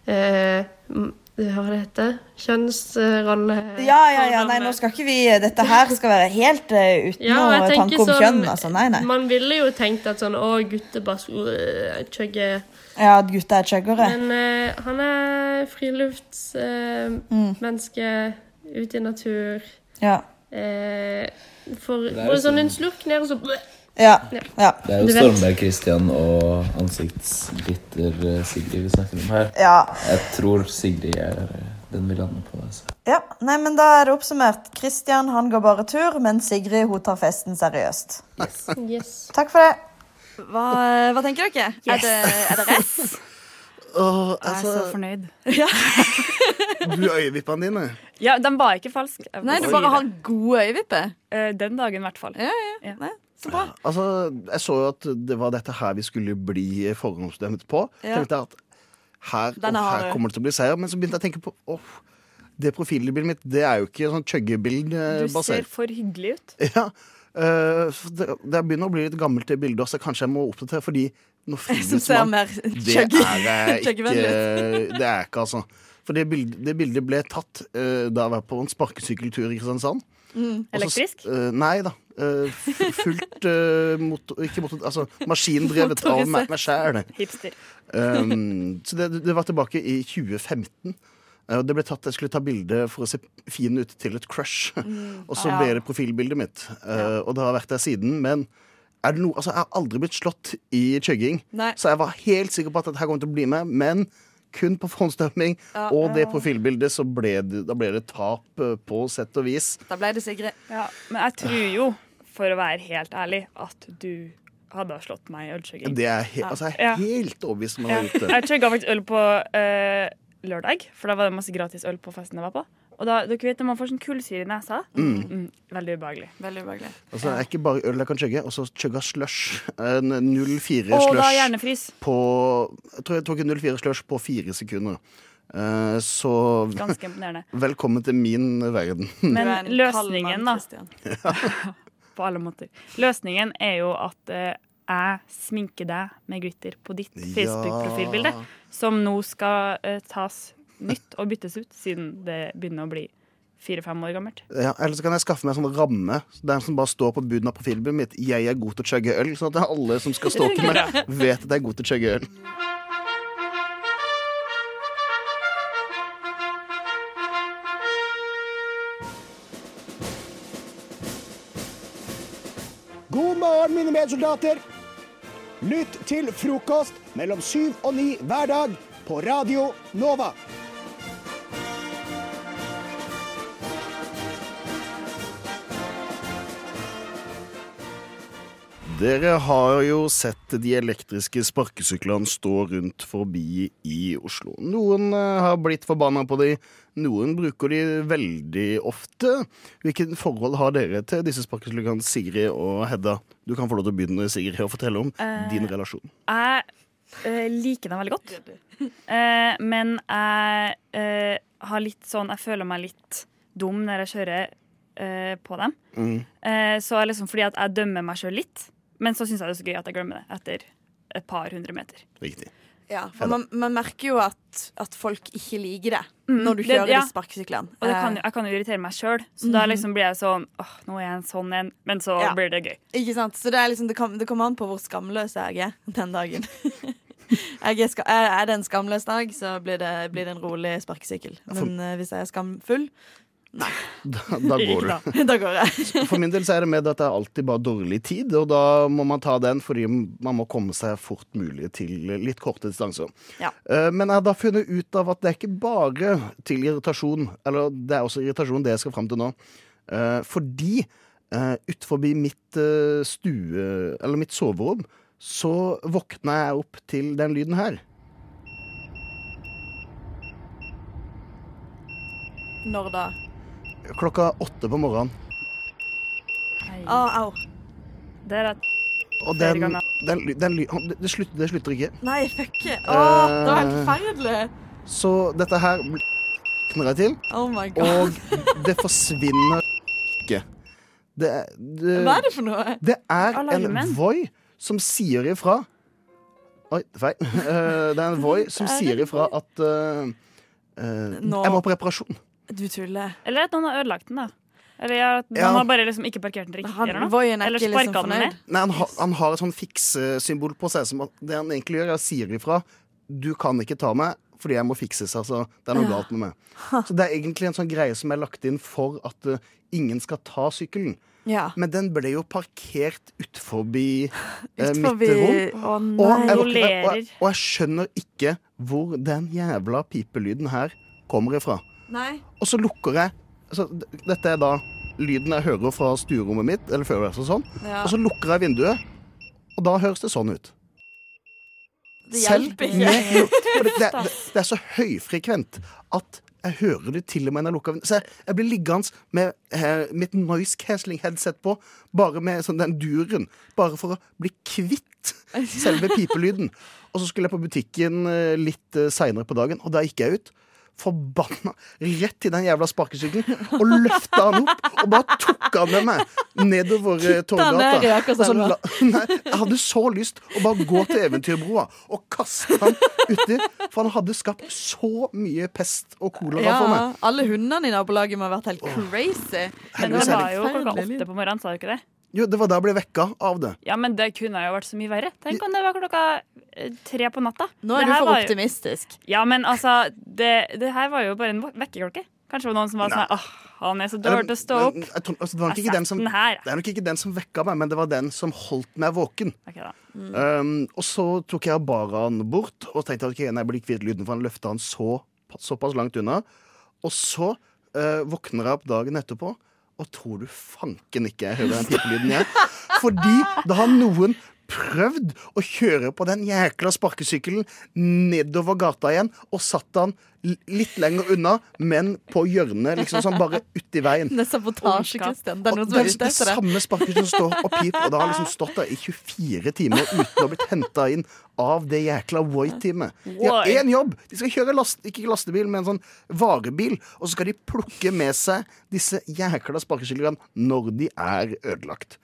Speaker 11: eh, m- Hva det heter Kjønnsrolle
Speaker 10: Ja, ja, ja, nei, nå skal ikke vi eh, Dette her skal være helt eh, uten
Speaker 11: Ja, og
Speaker 10: noe
Speaker 11: jeg
Speaker 10: tanke
Speaker 11: tenker
Speaker 10: om
Speaker 11: sånn-
Speaker 10: kjønn, altså. Nei, nei.
Speaker 11: Man ville jo tenkt at sånn Å, gutter bare skulle øh, chugge
Speaker 10: Ja, at gutta er chuggere.
Speaker 11: Men eh, han er
Speaker 10: Mm.
Speaker 11: friluftsmenneske ute i natur.
Speaker 10: Ja.
Speaker 11: Eh, for
Speaker 13: er jo
Speaker 11: bare sånn
Speaker 13: sånn-
Speaker 11: en slurk ned, og så
Speaker 10: Ja.
Speaker 13: Det er jo
Speaker 11: Du vet.
Speaker 13: Stormberg Christian og ansiktsglitter eh, Sigrid vi snakker om her.
Speaker 10: Ja.
Speaker 13: Jeg tror Sigrid er eh, den vi lander på. Altså.
Speaker 10: ja. Nei, men da er det oppsummert. Christian han går bare tur, men Sigrid hun tar festen seriøst. Takk for det. Hva, tenker dere?
Speaker 11: Er det-
Speaker 10: rett?
Speaker 1: Åh,
Speaker 11: Jeg er
Speaker 1: altså,
Speaker 11: så fornøyd.
Speaker 1: Ja. du øyevippene dine.
Speaker 11: Ja, den var ikke falsk.
Speaker 1: Nei, du bare har
Speaker 10: gode øyevipper.
Speaker 12: Eh,
Speaker 11: Den dagen, i hvert fall.
Speaker 1: Altså, jeg så jo at det var dette her vi skulle bli forhåndsdømt på.
Speaker 10: Ja.
Speaker 1: Tenkte jeg at her, og
Speaker 10: Den er hard,
Speaker 1: her
Speaker 10: ja.
Speaker 1: kommer det til å bli seier. Men så begynte jeg å tenke på åh, det profilbildet mitt det er jo ikke sånn chuggebilde
Speaker 14: Du ser
Speaker 1: basert.
Speaker 14: for hyggelig ut.
Speaker 1: Ja, eh, så det, det begynner å bli litt gammelt det bildet også. Kanskje jeg må oppdatere, fordi Noe friluftsmann.
Speaker 10: Som ser mer
Speaker 1: Det
Speaker 10: chuggy-
Speaker 1: er jeg ikke,
Speaker 10: chuggevennlig
Speaker 1: det er jeg ikke, altså. For det bildet, det bildet ble tatt eh, da jeg var på en sparkesykkeltur i Kristiansand.
Speaker 10: Mm.
Speaker 1: Og så- eh, nei da. Eh, f- fullt eh, motor... Ikke motor... Altså maskindrevet av meg, meg sjæl.
Speaker 12: Hipster.
Speaker 1: Um, så det, det var tilbake i 2015. Eh, og Det ble tatt, Jeg skulle ta bilde for å se fin ut til et crush.
Speaker 12: Mm.
Speaker 1: Og så
Speaker 12: Ja.
Speaker 1: ble det profilbildet mitt. Eh, Og det har vært der siden. Men er det noe, altså, jeg har aldri blitt slått i chugging.
Speaker 12: Nei.
Speaker 1: Så jeg var helt sikker på at dette her kom til å bli med. Men kun på forhåndsdømming
Speaker 12: Ja.
Speaker 1: og det
Speaker 12: Ja.
Speaker 1: profilbildet, så ble det, da ble det tap eh, på sett og vis.
Speaker 12: Da ble det Sigrid. Ja, men jeg tror jo, for å være helt ærlig, at du hadde slått meg i ølchugging.
Speaker 1: Det er he altså, jeg
Speaker 12: Ja.
Speaker 1: er helt overbevist om at jeg
Speaker 12: Ja.
Speaker 1: har gjort det.
Speaker 12: Jeg chugga faktisk øl på eh, lørdag, for da var det masse gratis øl på festen jeg var på. Og da, dere vet når man får sånn kullsyre i nesa?
Speaker 1: Mm.
Speaker 12: veldig ubehagelig. Veldig ubehagelig.
Speaker 1: Altså, det er ikke bare øl jeg kan chugge, og så chugga slush. Eh, En 04
Speaker 12: Og da
Speaker 1: slush
Speaker 12: hjernefrys.
Speaker 1: på Jeg tror jeg tok en 04 slush på fire sekunder. Eh, så
Speaker 12: Ganske imponerende.
Speaker 1: Velkommen til min verden.
Speaker 12: Men løsningen, da. på alle måter. Løsningen er jo at eh, jeg sminker deg med glitter på ditt Facebook-profilbilde, som nå skal eh, tas nytt og byttes ut, siden det begynner å bli fire-fem år gammelt.
Speaker 1: ja, eller så kan jeg skaffe meg en sånn ramme der som bare står på bunnen av profilbildet mitt 'Jeg er god til å chugge øl', sånn at alle som skal stalke meg, vet at jeg er god til å chugge øl.
Speaker 14: God morgen, mine medsoldater. Lytt til frokost mellom syv og ni hver dag på Radio Nova.
Speaker 1: Dere har jo sett de elektriske sparkesyklene stå rundt forbi i Oslo. Noen eh, har blitt forbanna på de, noen bruker de veldig ofte. Hvilket forhold har dere til disse sparkesyklene, Sigrid og Hedda? Du kan få lov til å begynne, Sigrid, å fortelle om
Speaker 12: Eh,
Speaker 1: din relasjon.
Speaker 12: Jeg eh, liker dem veldig godt. Eh, men jeg eh, har litt sånn Jeg føler meg litt dum når jeg kjører eh, på dem.
Speaker 1: Mm.
Speaker 12: Eh, så er liksom fordi at jeg dømmer meg sjøl litt. Men så syns jeg det er så gøy at jeg glemmer det etter et par hundre meter.
Speaker 1: Riktig.
Speaker 15: Ja, for man, man merker jo at, at folk ikke liker det
Speaker 12: Mm,
Speaker 15: når du
Speaker 12: det-
Speaker 15: kjører
Speaker 12: ja.
Speaker 15: de sparkesyklene.
Speaker 12: Og det kan, jo-
Speaker 15: Eh,
Speaker 12: jeg kan jo irritere meg sjøl, så da
Speaker 15: Mhm.
Speaker 12: liksom blir jeg sånn åh, nå er jeg en sånn en, men så
Speaker 15: Ja.
Speaker 12: blir det gøy.
Speaker 15: Ikke sant? Så det, er liksom, det, kom, det kommer an på hvor skamløs jeg er den dagen. jeg er, ska er er det en skamløs dag, så blir det, blir det en rolig sparkesykkel. Men eh, hvis jeg er skamfull Nei.
Speaker 1: Da, da går du.
Speaker 15: da går jeg.
Speaker 1: For min del så er det med at det er alltid bare dårlig tid, og da må man ta den fordi man må komme seg fort mulig til litt korte distanser.
Speaker 15: Ja.
Speaker 1: Eh, Men jeg har da funnet ut av at det er ikke bare til irritasjon, eller det er også irritasjon det jeg skal fram til nå, Eh, fordi eh, utenfor mitt eh, stue, eller mitt soverom, så våkna jeg opp til den lyden her.
Speaker 15: Når da?
Speaker 1: Klokka åtte på morgenen.
Speaker 15: Å, au.
Speaker 12: Det er at
Speaker 1: Og
Speaker 12: Flere
Speaker 1: den,
Speaker 12: ganger.
Speaker 1: den, ly- den, ly- det, det, slutter, det slutter ikke.
Speaker 15: Nei, fuck it. Å, det var helt
Speaker 1: Eh.
Speaker 15: forferdelig.
Speaker 1: Så dette her bl- kjenner jeg til.
Speaker 15: Oh my god.
Speaker 1: Og det forsvinner ikke. Det, er- det,
Speaker 15: Hva er det for noe?
Speaker 1: Eh, Det er
Speaker 15: Alarmen.
Speaker 1: en Voi som sier ifra Oi, feil. Eh, Det er en Voi som
Speaker 15: Er det
Speaker 1: sier ifra at eh, eh,
Speaker 12: Nå.
Speaker 1: Jeg må på reparasjon.
Speaker 15: Du tuller.
Speaker 12: Eller at noen har ødelagt den, da. Eller at
Speaker 1: Ja.
Speaker 12: man har bare liksom ikke parkert den riktig.
Speaker 15: Han-
Speaker 12: eller noe.
Speaker 15: Voien er
Speaker 12: Eller
Speaker 15: ikke liksom
Speaker 12: sparket den
Speaker 15: fornøyd.
Speaker 12: ned.
Speaker 1: Nei, han, har- han har et sånn fiksesymbol på seg. Som at det han egentlig gjør, er å sier ifra. Du kan ikke ta meg fordi jeg må fikses. Altså. Det er noe
Speaker 15: Ja.
Speaker 1: galt med meg. Så det er egentlig en sånn greie som er lagt inn for at eh, ingen skal ta sykkelen.
Speaker 15: Ja.
Speaker 1: Men den ble jo parkert utfor eh,
Speaker 15: Utfor
Speaker 1: mitt
Speaker 15: vi-
Speaker 1: rom.
Speaker 15: Å, nei.
Speaker 1: og, jeg, og,
Speaker 15: Rolerer.
Speaker 1: jeg, og jeg skjønner ikke hvor den jævla pipelyden her kommer ifra.
Speaker 15: Nei.
Speaker 1: Og så lukker jeg altså, d- Dette er da lyden jeg hører fra stuerommet mitt. Eller før det er sånn.
Speaker 15: Ja.
Speaker 1: Og så lukker jeg vinduet, og da høres det sånn ut.
Speaker 15: Det
Speaker 1: Selv
Speaker 15: hjelper ikke.
Speaker 1: med lukt. For det, det, det, det er så høyfrekvent at jeg hører det til og med når jeg lukker vinduet. Så jeg, jeg blir liggende med eh, mitt noise cancelling headset på, bare med sånn, den duren. Bare for å bli kvitt selve pipelyden. Og så skulle jeg på butikken eh, litt eh, seinere på dagen, og der gikk jeg ut. forbanna rett i den jævla sparkesykkelen og løfta han opp og bare tok han med meg nedover eh,
Speaker 10: han
Speaker 1: Torggata.
Speaker 10: ned i
Speaker 1: Og så
Speaker 10: Akerselva.
Speaker 1: la- Nei, jeg hadde så lyst å bare gå til Eventyrbroa og kaste han uti, for han hadde skapt så mye pest og kolera for
Speaker 10: Ja,
Speaker 1: meg.
Speaker 10: alle hundene i nabolaget må ha vært helt crazy.
Speaker 12: Men det
Speaker 1: Heldigvis er
Speaker 12: var
Speaker 1: det
Speaker 12: jo klokka
Speaker 10: forferdelig
Speaker 12: åtte på morgenen, sa du ikke det?
Speaker 1: Jo, det var da jeg ble vekka av det.
Speaker 12: Ja, men det kunne jo vært så mye verre. Tenk om det var klokka eh, tre på natta.
Speaker 10: Nå er
Speaker 12: Det
Speaker 10: du
Speaker 12: her
Speaker 10: for
Speaker 12: var jo-
Speaker 10: optimistisk.
Speaker 12: Ja, men altså, det, det her var jo bare en vå- vekkerklokke. Kanskje det var noen som var sånn her, åh, han er så dårlig til å stå opp.
Speaker 1: Men, jeg tror- altså, det, var nok
Speaker 12: Jeg
Speaker 1: ikke den som,
Speaker 12: satt den her.
Speaker 1: det er nok ikke den som vekka meg, men det var den som holdt meg våken.
Speaker 12: Ok da.
Speaker 1: Um, og så tok jeg bare han bort og tenkte at ok, nei, jeg blir kvitt lyden, for han løfta han så, såpass langt unna. Og så eh, våkner jeg opp dagen etterpå, og tror du fanken ikke jeg hører den pipelyden, jeg. Fordi da har noen prøvd å kjøre på den jækla sparkesykkelen nedover gata igjen, og satt han l- litt lenger unna, men på hjørnet, liksom sånn bare uti veien.
Speaker 10: Det er sabotasje, Kristian. Det er noen
Speaker 1: Og
Speaker 10: som er
Speaker 1: det
Speaker 10: ute
Speaker 1: det
Speaker 10: etter det.
Speaker 1: samme sparket som står og piper, og det har liksom stått der i 24 timer uten å ha blitt henta inn av det jækla Voi-teamet. De har
Speaker 3: Voi.
Speaker 1: én jobb! De skal kjøre last, ikke lastebil, men en sånn varebil, og så skal de plukke med seg disse jækla sparkesyklene når de er ødelagt.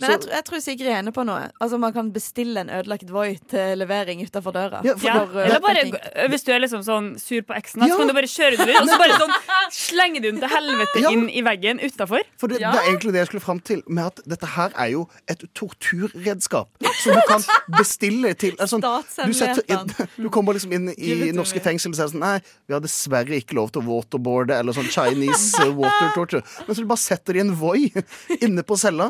Speaker 10: Men jeg, tror- jeg tror Sigrid er inne på noe. Altså Man kan bestille en ødelagt Voi til levering utafor døra.
Speaker 12: Ja,
Speaker 10: For, uh,
Speaker 12: eller bare,
Speaker 10: oppdekking.
Speaker 12: g- hvis du er liksom sånn sur på eksen, da,
Speaker 10: Ja.
Speaker 12: så kan du bare kjøre den og så bare sånn slenger du den til helvete inn i veggen utafor.
Speaker 1: For det, det er egentlig det jeg skulle fram til, med at dette her er jo et torturredskap som du kan bestille til altså, du, setter inn, du kommer liksom inn i norske fengsel og sier sånn Nei, vi har dessverre ikke lov til å waterboarde eller sånn Chinese eh, water torture. Men så du bare setter de en Voi inne på cella,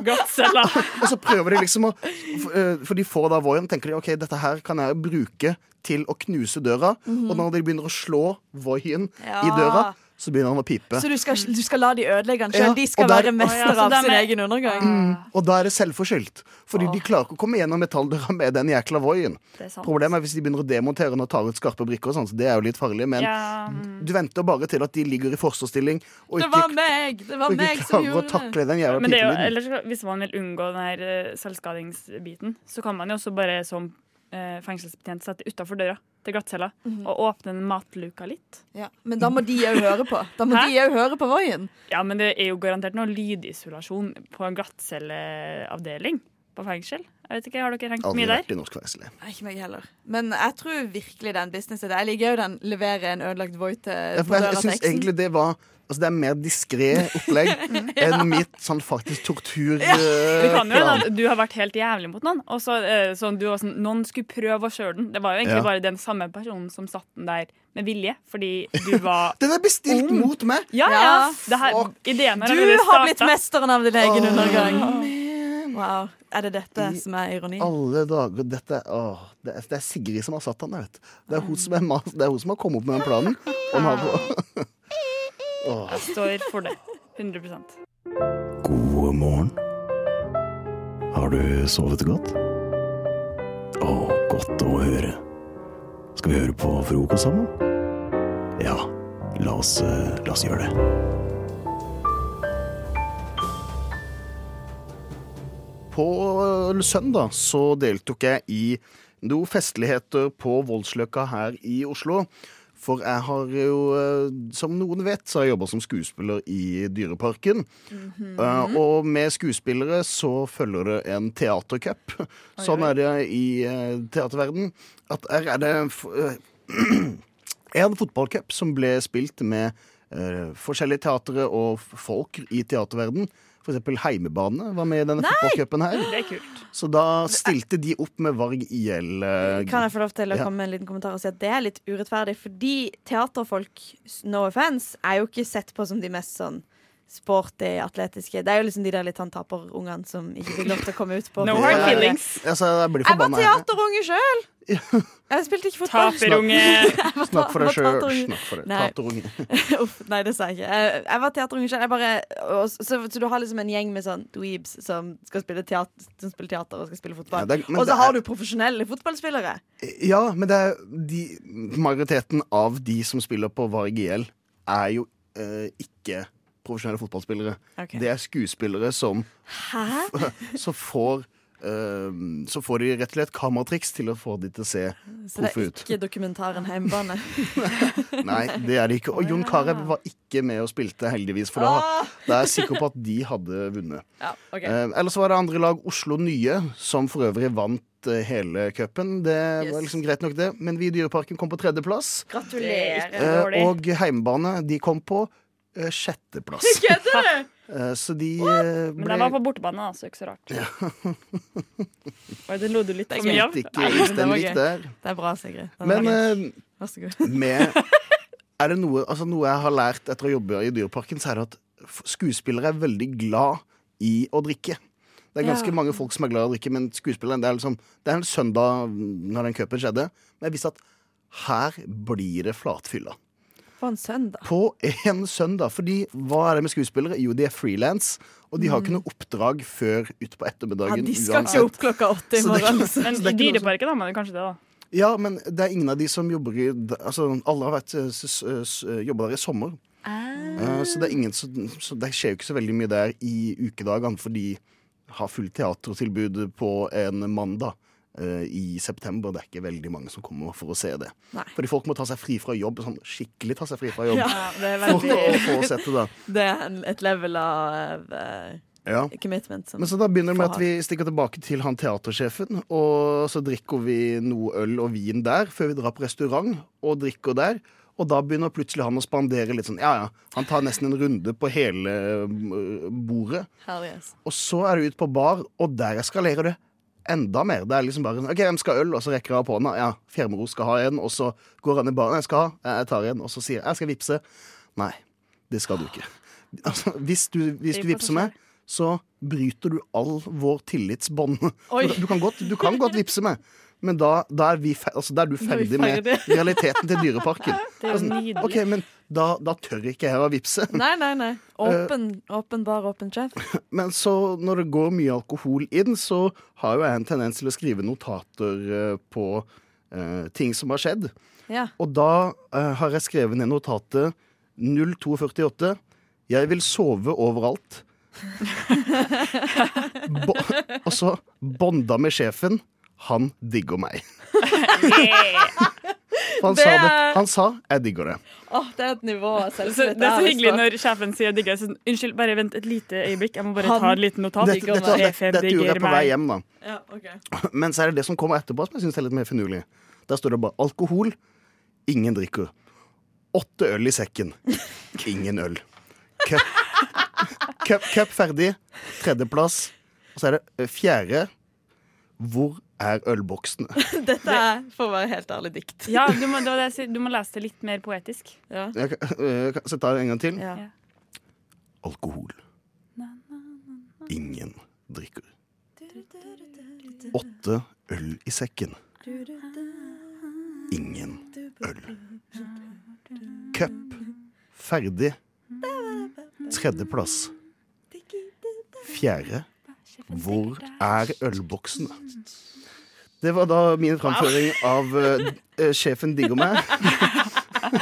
Speaker 1: og så prøver de liksom å f- eh, For de får da Voien, og tenker de OK, dette her kan jeg bruke til å knuse døra.
Speaker 10: Mhm.
Speaker 1: Og når de begynner å slå Voien i
Speaker 10: Ja.
Speaker 1: døra, så begynner han å pipe.
Speaker 10: Så du skal, du skal la de ødelegge den sjøl?
Speaker 1: Ja,
Speaker 10: De
Speaker 1: og
Speaker 10: skal
Speaker 1: der-
Speaker 10: være
Speaker 1: Å, ja, så
Speaker 10: mestere av
Speaker 1: dem
Speaker 10: sin
Speaker 1: er-
Speaker 10: egen undergang?
Speaker 1: Mm, og da er det selvforskyldt. Fordi de klarer ikke å komme gjennom metalldøra med den jækla voien.
Speaker 10: Det er sant.
Speaker 1: Problemet er hvis de begynner å demontere den og tar ut skarpe brikker og sånn, så det er jo litt farlig. Men
Speaker 10: Ja,
Speaker 1: du venter bare til at de ligger i forsvarsstilling og
Speaker 12: Det
Speaker 1: ikke,
Speaker 12: var meg! Det var
Speaker 1: og
Speaker 12: meg
Speaker 1: ikke
Speaker 12: som
Speaker 1: klarer å
Speaker 12: gjorde det.
Speaker 1: takle den jævla
Speaker 12: Men det er jo,
Speaker 1: pipelyden.
Speaker 12: ellers, hvis man vil unngå den her eh, selvskadingsbiten, så kan man jo også bare som eh, fengselsbetjent sette utafor døra til glattcella
Speaker 10: Mhm.
Speaker 12: og åpne den matluka litt.
Speaker 10: Ja. Men da må de òg høre på. Da må
Speaker 12: Hæ?
Speaker 10: de òg høre på Voien.
Speaker 12: Ja, men det er jo garantert noe lydisolasjon på en glattcelleavdeling på fengsel. Jeg vet ikke, Har dere hengt
Speaker 1: Aldri
Speaker 12: mye der?
Speaker 1: vært i norsk fengsel. jeg.
Speaker 10: Nei, Ikke meg heller. Men jeg tror virkelig den businessen der. Jeg liker jo den levere en ødelagt Voi til
Speaker 12: Eh,
Speaker 1: Jeg,
Speaker 10: på
Speaker 1: jeg,
Speaker 10: døra
Speaker 1: jeg
Speaker 10: til
Speaker 1: syns
Speaker 10: eksen.
Speaker 1: egentlig det var Altså Det er mer diskré opplegg
Speaker 12: Ja.
Speaker 1: enn mitt sånn faktisk eh,
Speaker 12: Ja. Det kan jo hende
Speaker 1: torturplan.
Speaker 12: at du har vært helt jævlig mot noen, og så eh, sånn, du var sånn Noen skulle prøve å kjøre den. Det var jo egentlig
Speaker 1: Ja.
Speaker 12: bare den samme personen som satt den der med vilje, fordi du var
Speaker 1: Den er bestilt
Speaker 12: ung.
Speaker 1: mot meg!
Speaker 12: Ja, ja. Det her, ideen her
Speaker 10: Du
Speaker 12: allerede
Speaker 10: har blitt
Speaker 12: startet.
Speaker 10: mesteren av din egen
Speaker 12: Åh.
Speaker 10: undergang. Wow. Er det dette som er ironi?
Speaker 1: Alle dager, dette åh, det, er, det er Sigrid som har satt han der, vet du. Det er hun som, er, ma- det er hun som har kommet opp med den planen. Og den har, åh.
Speaker 12: Jeg står for det. 100
Speaker 16: God morgen. Har du sovet godt? Å, godt å høre. Skal vi høre på frokost sammen? Ja, la oss, eh, la oss gjøre det.
Speaker 1: På øh, søndag så deltok jeg i noen festligheter på Voldsløkka her i Oslo. For jeg har jo, øh, som noen vet, så har jeg jobba som skuespiller i Dyreparken. Eh, og med skuespillere så følger det en teatercup. Sånn er det i eh, teaterverden. At her er det f eh, en fotballcup som ble spilt med eh, forskjellige teatre og f- folk i teaterverden. For eksempel Heimebane var med i denne fotballcupen her.
Speaker 12: Det er kult.
Speaker 1: Så da stilte de opp med Varg IL. eh,
Speaker 10: Kan jeg få lov til å
Speaker 1: Ja.
Speaker 10: komme med en liten kommentar og si at det er litt urettferdig? Fordi teaterfolk, no offense, er jo ikke sett på som de mest sånn sporty, atletiske. Det er jo liksom de der litt han taperungene som ikke fikk lov til å komme ut på
Speaker 1: Ja, ja, ja. Altså, jeg blir
Speaker 10: Jeg var
Speaker 1: forbanna. jeg.
Speaker 10: teaterunge sjøl! Jeg spilte ikke fotball. Jeg var-
Speaker 1: Snakk for deg
Speaker 10: jeg var
Speaker 1: sjøl.
Speaker 10: teaterunge.
Speaker 1: Snakk for deg.
Speaker 10: Nei.
Speaker 1: Teaterunge.
Speaker 10: Uff, nei, det sa jeg ikke. Jeg, jeg var teaterunge selv. Jeg bare- og s- Så, så du har liksom en gjeng med sånn dweebs som skal spille teater, som spiller teater og skal spille fotball.
Speaker 1: Ja, det er- men
Speaker 10: og
Speaker 1: det
Speaker 10: så
Speaker 1: er-
Speaker 10: har du profesjonelle fotballspillere.
Speaker 1: Eh, Ja, men det er de, majoriteten av de som spiller på Varg IL, er jo eh, ikke profesjonelle fotballspillere.
Speaker 10: Ok.
Speaker 1: Det er skuespillere som,
Speaker 10: Hæ?
Speaker 1: som får eh, så får de rett og slett kameratriks til å få de til å se
Speaker 15: Så det
Speaker 1: proffe
Speaker 15: er
Speaker 1: ut.
Speaker 15: ikke dokumentaren Heimbane.
Speaker 1: Nei, det er det ikke. Og Jon Carew var ikke med og spilte, heldigvis, for da, da er jeg sikker på at de hadde vunnet.
Speaker 15: Ja, ok.
Speaker 1: Eh, ellers var det andre lag, Oslo Nye, som for øvrig vant eh, hele cupen. Det var liksom greit nok, det, men vi i Dyreparken kom på tredjeplass.
Speaker 15: Gratulerer.
Speaker 1: Eh, og Heimbane, de kom på eh, sjetteplass.
Speaker 12: Kødder du?!
Speaker 1: Eh, så de eh,
Speaker 12: Men
Speaker 1: ble
Speaker 12: de var på bortebane, da, så ikke så rart. Oi, det lo du litt for mye av.
Speaker 1: Spilte ikke Øystein likt der.
Speaker 15: Det er bra, Sigrid. Den
Speaker 1: Men
Speaker 15: var gøy.
Speaker 1: eh,
Speaker 15: Vær så god.
Speaker 1: med Er det noe, altså noe jeg har lært etter å jobbe i Dyreparken, så er det at f- skuespillere er veldig glad i å drikke. Det er ganske
Speaker 17: Ja.
Speaker 1: mange folk som er glad i å drikke, men skuespilleren Det er liksom Det er en søndag når den cupen skjedde, men jeg visste at her blir det flatfylla.
Speaker 15: På en søndag.
Speaker 1: På en søndag. Fordi hva er det med skuespillere? Jo, de er frilans, og de har ikke noe oppdrag før utpå
Speaker 15: Mm. Ja,
Speaker 1: ettermiddagen.
Speaker 15: de skal
Speaker 1: uansett.
Speaker 15: ikke opp klokka åtte i
Speaker 1: Så det er
Speaker 15: morgen.
Speaker 1: ikke- så det er
Speaker 12: Men
Speaker 1: ikke
Speaker 12: i
Speaker 1: noe som-
Speaker 12: Dyreparken har man jo kanskje det, da.
Speaker 1: Ja, men det er ingen av de som jobber i Altså, alle har vært eh, s- s- jobba der i sommer.
Speaker 15: Ah.
Speaker 1: Eh, Så det er ingen som så Det skjer jo ikke så veldig mye der i ukedagene, for de har fullt teatertilbud på en mandag eh, i september. Det er ikke veldig mange som kommer for å se det.
Speaker 15: Nei.
Speaker 1: Fordi folk må ta seg fri fra jobb, sånn skikkelig ta seg fri fra jobb.
Speaker 15: Ja, det er
Speaker 1: for å få
Speaker 15: veldig-
Speaker 1: sett det, da.
Speaker 15: Det er en- et level av eh,
Speaker 1: Ja.
Speaker 15: commitment. Som
Speaker 1: Men så da begynner det med
Speaker 15: får
Speaker 1: at
Speaker 15: ha.
Speaker 1: vi stikker tilbake til han teatersjefen, og så drikker vi noe øl og vin der, før vi drar på restaurant og drikker der. Og da begynner plutselig han å spandere litt sånn, ja ja. Han tar nesten en runde på hele eh, bordet.
Speaker 15: Hell yes.
Speaker 1: Og så er det ut på bar, og der eskalerer det enda mer. Det er liksom bare sånn, OK, hvem skal ha øl? Og så rekker jeg opp hånda. Ja, Fjermero skal ha en. Og så går han i baren. Jeg skal ha. Ja, Jeg tar en. Og så sier jeg jeg skal vippse. Nei, det skal du ikke. Altså, hvis du, hvis du
Speaker 17: Vi får
Speaker 1: vippser meg, så bryter du all vår tillitsbånd.
Speaker 17: Oi.
Speaker 1: Du kan godt, du kan godt vippse meg. Men da, da, er vi fe altså, da er du
Speaker 17: Da er vi
Speaker 1: ferdig med
Speaker 17: ferdig.
Speaker 1: realiteten til Dyreparken.
Speaker 15: Det er jo
Speaker 1: Altså,
Speaker 15: nydelig.
Speaker 1: ok, men da, da tør ikke jeg å vippse.
Speaker 15: Nei, nei, nei. Åpen, åpen bar, åpen sjef.
Speaker 1: Men så når det går mye alkohol inn, så har jo jeg en tendens til å skrive notater eh, på eh, ting som har skjedd.
Speaker 15: Ja.
Speaker 1: Og da eh, har jeg skrevet ned notatet 0248. Jeg vil sove overalt. Bo og så bånda med sjefen. Han digger meg. For han,
Speaker 12: Det
Speaker 1: sa det.
Speaker 12: er-
Speaker 1: han sa 'jeg digger det'.
Speaker 15: Åh, det er et nivå av
Speaker 12: Det er så-
Speaker 15: selvtillit.
Speaker 12: det er så
Speaker 15: jeg har lyst
Speaker 12: hyggelig
Speaker 15: på.
Speaker 12: når sjefen sier 'digger'. Sånn, Unnskyld, bare vent et lite øyeblikk. Jeg må bare
Speaker 1: Han-
Speaker 12: ta et lite notat. E
Speaker 1: Dette, dette, dette, dette gjorde jeg på vei hjem, da.
Speaker 15: Ja, ok.
Speaker 1: Men så er det det som kommer etterpå, som jeg synes er litt mer finurlig. Der står det bare 'alkohol'. Ingen drikker. Åtte øl i sekken. Ingen øl. Cup, cup, cup ferdig. Tredjeplass. Og så er det eh, fjerde. Hvor er ølboksene?
Speaker 15: Dette er, for å være helt ærlig, dikt.
Speaker 12: Ja, du må, det var det jeg sier. du må lese det litt mer poetisk.
Speaker 1: Jeg kan- eh, kan- Så tar jeg en gang til.
Speaker 12: Ja.
Speaker 1: Alkohol. Ingen drikker. Åtte øl i sekken. Ingen øl. Cup. Ferdig. Tredjeplass. Fjerde. Hvor er ølboksene? Det var da min framføring av eh, eh, 'Sjefen digger meg'.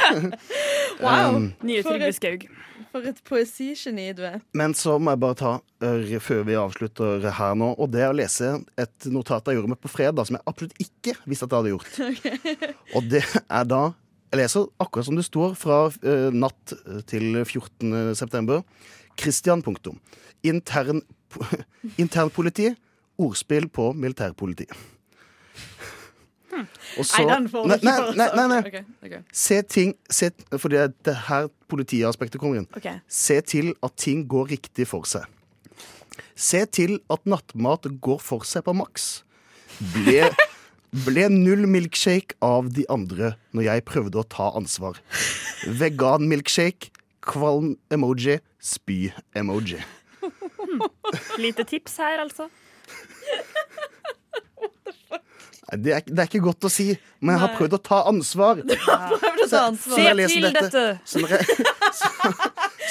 Speaker 15: Wow.
Speaker 1: Um,
Speaker 12: Nye
Speaker 15: For
Speaker 12: Trygve
Speaker 15: et-
Speaker 12: Skaug.
Speaker 15: For et poesigeni du er.
Speaker 1: Men så må jeg bare ta eh, før vi avslutter her nå, og det er å lese et notat jeg gjorde meg på fredag, som jeg absolutt ikke visste at jeg hadde gjort. Og det er da Jeg leser akkurat som det står fra eh, natt til 14. september. Christian punktum. Intern, internpoliti. Ordspill på militærpoliti. Og
Speaker 15: Nei, den får du
Speaker 1: nei,
Speaker 15: ikke
Speaker 1: nei,
Speaker 15: for å
Speaker 1: nei,
Speaker 15: ta.
Speaker 1: nei, nei.
Speaker 15: Ok, ok.
Speaker 1: Se ting se, For det er det her politiaspektet kommer inn.
Speaker 15: Ok.
Speaker 1: Se til at ting går riktig for seg. Se til at nattmat går for seg på maks. Ble, ble null milkshake av de andre når jeg prøvde å ta ansvar. Vegan milkshake, kvalm emoji, spy emoji.
Speaker 12: Hm. Lite tips her, altså.
Speaker 1: Nei, Det er, det er ikke godt å si, men jeg har
Speaker 12: Nei.
Speaker 1: prøvd å ta ansvar.
Speaker 15: Prøv å ta ansvar.
Speaker 1: sånn, Så når jeg leser Så når jeg, så,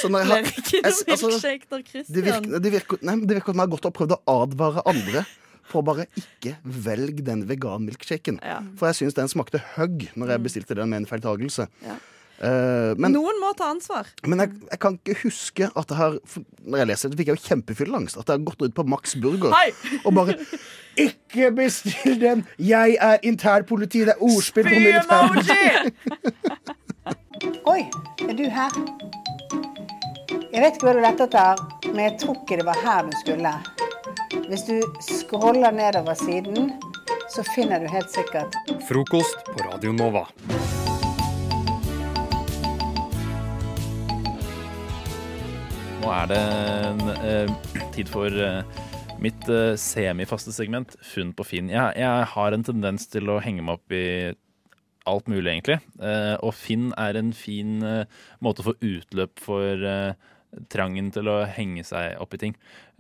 Speaker 1: så når jeg har
Speaker 15: Blir ikke
Speaker 1: jeg-
Speaker 15: noe
Speaker 1: altså,
Speaker 15: milkshake når
Speaker 1: Det
Speaker 15: Christian
Speaker 1: virker, det virker, nei, men det virker at man har gått og prøvd å advare andre på å bare ikke velg den veganmilkshaken. For jeg syns den smakte hugg når jeg bestilte den med en feiltagelse. Eh, men
Speaker 15: Noen må ta ansvar.
Speaker 1: men jeg, jeg kan ikke huske at det har for Når jeg leser det, fikk jeg jo kjempefylleangst. At jeg har gått ut på Max Burger
Speaker 14: Hei!
Speaker 1: og bare
Speaker 14: Ikke bestill den! Jeg er internpoliti. Det er ordspill på militæret.
Speaker 18: Oi, er du her? Jeg vet ikke hva du lette etter, men jeg tror ikke det var her du skulle. Hvis du scroller nedover siden, så finner du helt sikkert
Speaker 7: Frokost på Radio Nova.
Speaker 19: Nå er det en, eh, tid for eh, mitt eh, semifaste segment, funn på Finn. Jeg, jeg har en tendens til å henge meg opp i alt mulig, egentlig. Eh, og Finn er en fin eh, måte å få utløp for eh, trangen til å henge seg opp i ting.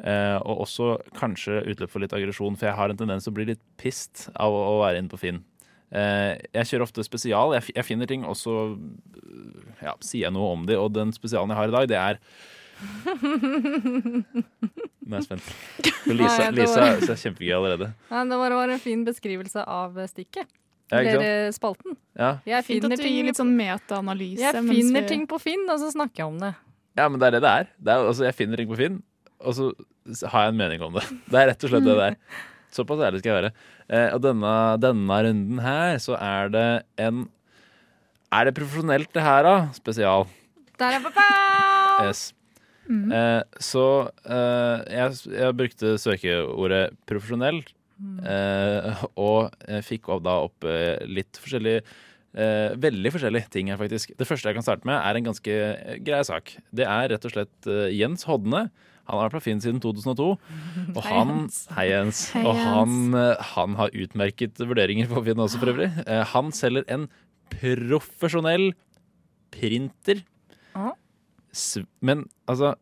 Speaker 19: Eh, og også kanskje utløp for litt aggresjon, for jeg har en tendens til å bli litt pissed av å, å være inne på Finn. Eh, jeg kjører ofte spesial. Jeg, fi- jeg finner ting, og så eh, ja, sier jeg noe om de. Og den spesialen jeg har i dag, det er Nå er jeg spent. For
Speaker 20: Nei,
Speaker 19: Lisa,
Speaker 20: det
Speaker 19: Lisa
Speaker 20: var-
Speaker 19: er kjempegøy allerede.
Speaker 20: Nei, det var, var en fin beskrivelse av eh, stikket.
Speaker 19: Ja, ikke
Speaker 20: Eller eh, spalten.
Speaker 19: Ja.
Speaker 20: Jeg
Speaker 21: Fint at
Speaker 20: finner
Speaker 21: du
Speaker 20: ting
Speaker 21: gir litt sånn metaanalyse.
Speaker 20: Jeg
Speaker 21: mens
Speaker 20: finner
Speaker 21: vi-
Speaker 20: ting på Finn, og så snakker jeg om det.
Speaker 19: Ja, men det er det det er. Det er altså, jeg finner ting på Finn, og så har jeg en mening om det. Det er rett og slett det det er. Såpass ærlig skal jeg være. Eh, og denne, denne runden her, så er det en Er det profesjonelt, det her, da? Spesial.
Speaker 20: Der er pappa!
Speaker 19: Yes. Eh, så eh, jeg, jeg brukte søkeordet profesjonell, eh, og jeg fikk opp- da opp eh, litt forskjellige eh, Veldig forskjellige ting her, faktisk. Det første jeg kan starte med, er en ganske eh, grei sak. Det er rett og slett eh, Jens Hodne. Han har vært på Finn siden 2002. Og
Speaker 20: Hei,
Speaker 19: han,
Speaker 20: Jens.
Speaker 19: hei, Jens.
Speaker 20: Hei,
Speaker 19: og
Speaker 20: Jens.
Speaker 19: han, eh, han har utmerket vurderinger på Finn også, for øvrig. Eh, han selger en profesjonell printer.
Speaker 20: Ja.
Speaker 19: Sv- Men altså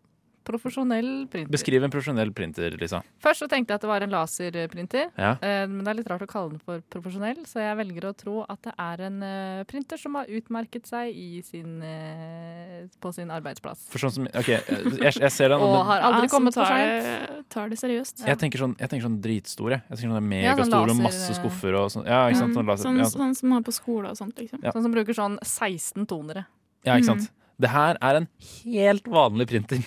Speaker 20: Profesjonell printer.
Speaker 19: Beskriv en profesjonell printer, Lisa.
Speaker 20: Først så tenkte jeg at det var en laserprinter,
Speaker 19: Ja.
Speaker 20: eh, men det er litt rart å kalle den for profesjonell, så jeg velger å tro at det er en eh, printer som har utmerket seg i sin, eh, på sin arbeidsplass.
Speaker 19: For sånn som OK, jeg, jeg ser den.
Speaker 20: Og
Speaker 19: men-
Speaker 20: har aldri
Speaker 21: Jeg som
Speaker 20: kommet for
Speaker 21: tar
Speaker 20: sent.
Speaker 21: det- Tar det seriøst.
Speaker 19: Jeg tenker sånn, jeg tenker sånn dritstor, jeg. Jeg tenker sånn
Speaker 20: Ja, sånn
Speaker 19: Megastor med
Speaker 20: laser-
Speaker 19: masse skuffer og sånn. Ja, ikke sant? Sånn
Speaker 21: eh, Mm,
Speaker 19: laser,
Speaker 21: sånn,
Speaker 19: ja.
Speaker 21: sånn som man har på skole og sånt, liksom.
Speaker 19: Ja.
Speaker 20: Sånn som bruker sånn 16 tonere.
Speaker 19: ja,
Speaker 20: Mm.
Speaker 19: ikke sant. Det her er en helt vanlig printer.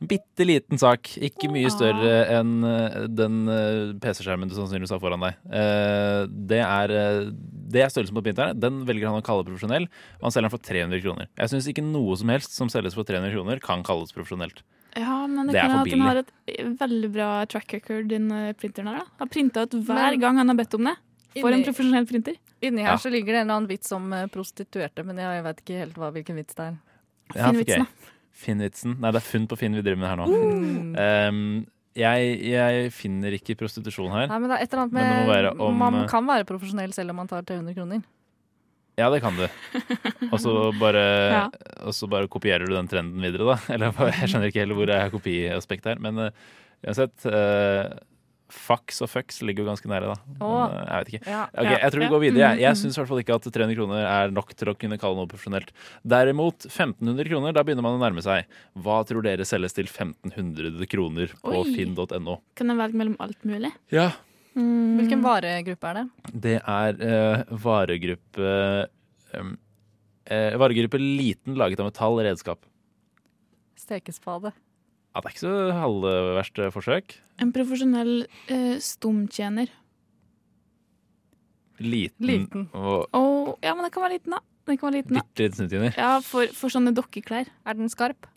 Speaker 19: En bitte liten sak. Ikke mye større enn eh, den eh, PC-skjermen du sannsynligvis har foran deg. Eh, Det er, eh, det er størrelsen på printeren. Den velger han å kalle profesjonell. Og han selger den for 300 kroner. Jeg syns ikke noe som helst som selges for 300 kroner, kan kalles profesjonelt.
Speaker 21: Ja, men det,
Speaker 19: Det er
Speaker 21: kan
Speaker 19: for
Speaker 21: hende at den
Speaker 19: billig.
Speaker 21: har et veldig bra track record, den eh, printeren her. da. Har printa ut hver
Speaker 20: Men-
Speaker 21: gang han har bedt om det. Mm. For
Speaker 20: Inni-
Speaker 21: en profesjonell printer.
Speaker 20: Inni her
Speaker 21: Ja.
Speaker 20: så ligger det en eller annen vits om eh, prostituerte, men jeg vet ikke helt hva, hvilken vits det er.
Speaker 19: Ja, for gøy. Finnvitsen. Nei, det er funn på Finn vi driver med her nå.
Speaker 20: Mm.
Speaker 19: Um, jeg, jeg finner ikke prostitusjon her.
Speaker 20: Nei, men det er et eller annet
Speaker 19: Men det må
Speaker 20: med
Speaker 19: være om- eh,
Speaker 20: Man kan være profesjonell selv om man tar 300 kroner.
Speaker 19: Ja, det kan du. Og så bare,
Speaker 20: Ja.
Speaker 19: og så bare kopierer du den trenden videre, da. Eller hva- jeg skjønner ikke heller hvor det er kopiaspekt her. Men uh, uansett. Uh, Fax og fucks ligger jo ganske nære, da. Men,
Speaker 20: Åh.
Speaker 19: uh, jeg vet ikke.
Speaker 20: Ja.
Speaker 19: Ok,
Speaker 20: Ja.
Speaker 19: jeg tror vi
Speaker 20: Ja.
Speaker 19: går videre. Jeg,
Speaker 15: Mm.
Speaker 20: Mhm.
Speaker 19: jeg syns i hvert fall ikke at 300 kroner er nok til å kunne kalle noe profesjonelt. Derimot, 1500 kroner, da begynner man å nærme seg. Hva tror dere selges til 1500 kroner på
Speaker 21: Oi.
Speaker 19: finn.no?
Speaker 21: Kan den velge mellom alt mulig.
Speaker 19: Ja,
Speaker 20: Hvilken Mm. varegruppe er det?
Speaker 19: det er eh, varegruppe um, eh, Varegruppe liten laget av metall redskap.
Speaker 20: Stekespade.
Speaker 19: Ja, det er ikke så halvverst eh, forsøk.
Speaker 21: En profesjonell eh, stumtjener.
Speaker 19: Liten,
Speaker 21: Liten.
Speaker 19: og
Speaker 21: Å, ja, men den kan være liten, da. Den kan være liten, da.
Speaker 19: bitte liten snuttjener.
Speaker 21: Ja, for, for sånne dokkeklær.
Speaker 20: Er den skarp?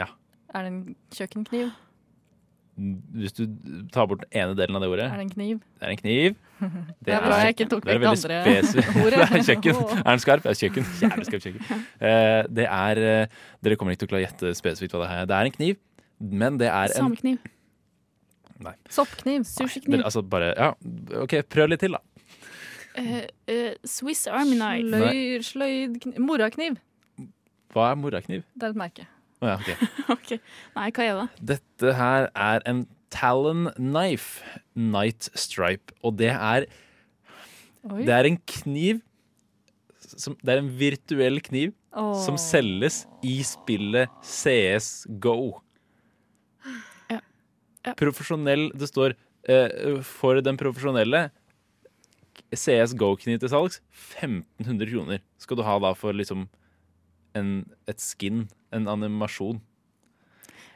Speaker 19: Ja.
Speaker 20: Er det en kjøkkenkniv?
Speaker 19: Hvis du tar bort den ene delen av det ordet
Speaker 20: Er det en kniv?
Speaker 19: Det er en kniv.
Speaker 20: Det er bra jeg ikke tok
Speaker 19: det er
Speaker 20: vekk andre
Speaker 19: veldig spesifikt. Det er
Speaker 20: ordet.
Speaker 19: kjøkken.
Speaker 20: Åh.
Speaker 19: Er den skarp? Ja, kjøkken. Jævlig skarp kjøkken. Eh, det er eh, Dere kommer ikke til å klare å gjette spesifikt hva det er. Det er en kniv, men det er en
Speaker 21: Samekniv.
Speaker 19: Nei.
Speaker 20: Soppkniv.
Speaker 19: Dere, altså bare, ja, OK, prøv litt til, da.
Speaker 21: Eh, eh, Swiss Army Knife.
Speaker 19: Nei.
Speaker 20: Sløyd, sløyd Morakniv.
Speaker 19: Hva er morakniv?
Speaker 20: Det er et merke.
Speaker 19: Å ja, ok.
Speaker 21: Nei, hva er det?
Speaker 19: Dette her er en Talon Knife Night Stripe, og det er
Speaker 20: Oi.
Speaker 19: Det er en kniv som, Det er en virtuell kniv
Speaker 20: Åh.
Speaker 19: som selges i spillet CS GO. Profesjonell Det står eh, for den profesjonelle CS GO-kniv til salgs 1500 kroner. Skal du ha da for liksom en, et skin, en animasjon.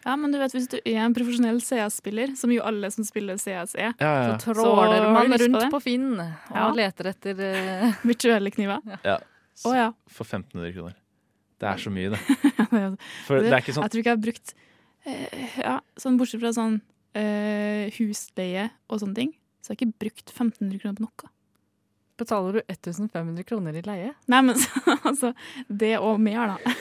Speaker 21: Ja, men du vet, Hvis du er en profesjonell CS-spiller, som jo alle som spiller CS er,
Speaker 19: Ja, ja.
Speaker 21: så
Speaker 20: Tråler
Speaker 21: har
Speaker 20: man
Speaker 21: du lyst
Speaker 20: rundt
Speaker 21: det.
Speaker 20: på Finn og
Speaker 21: Ja.
Speaker 20: leter etter eh,
Speaker 21: Virtuelle kniver. Ja.
Speaker 19: Ja.
Speaker 21: Å, ja.
Speaker 19: For 1500 kroner. Det er så mye, det. For det er ikke sånn
Speaker 21: Jeg tror ikke jeg har brukt eh, ja, sånn Bortsett fra sånn eh, husleie og sånne ting, så har jeg ikke brukt 1500 kroner på noe.
Speaker 20: Betaler du 1500 kroner i leie?
Speaker 21: Nei, men så, altså Det og mer, da.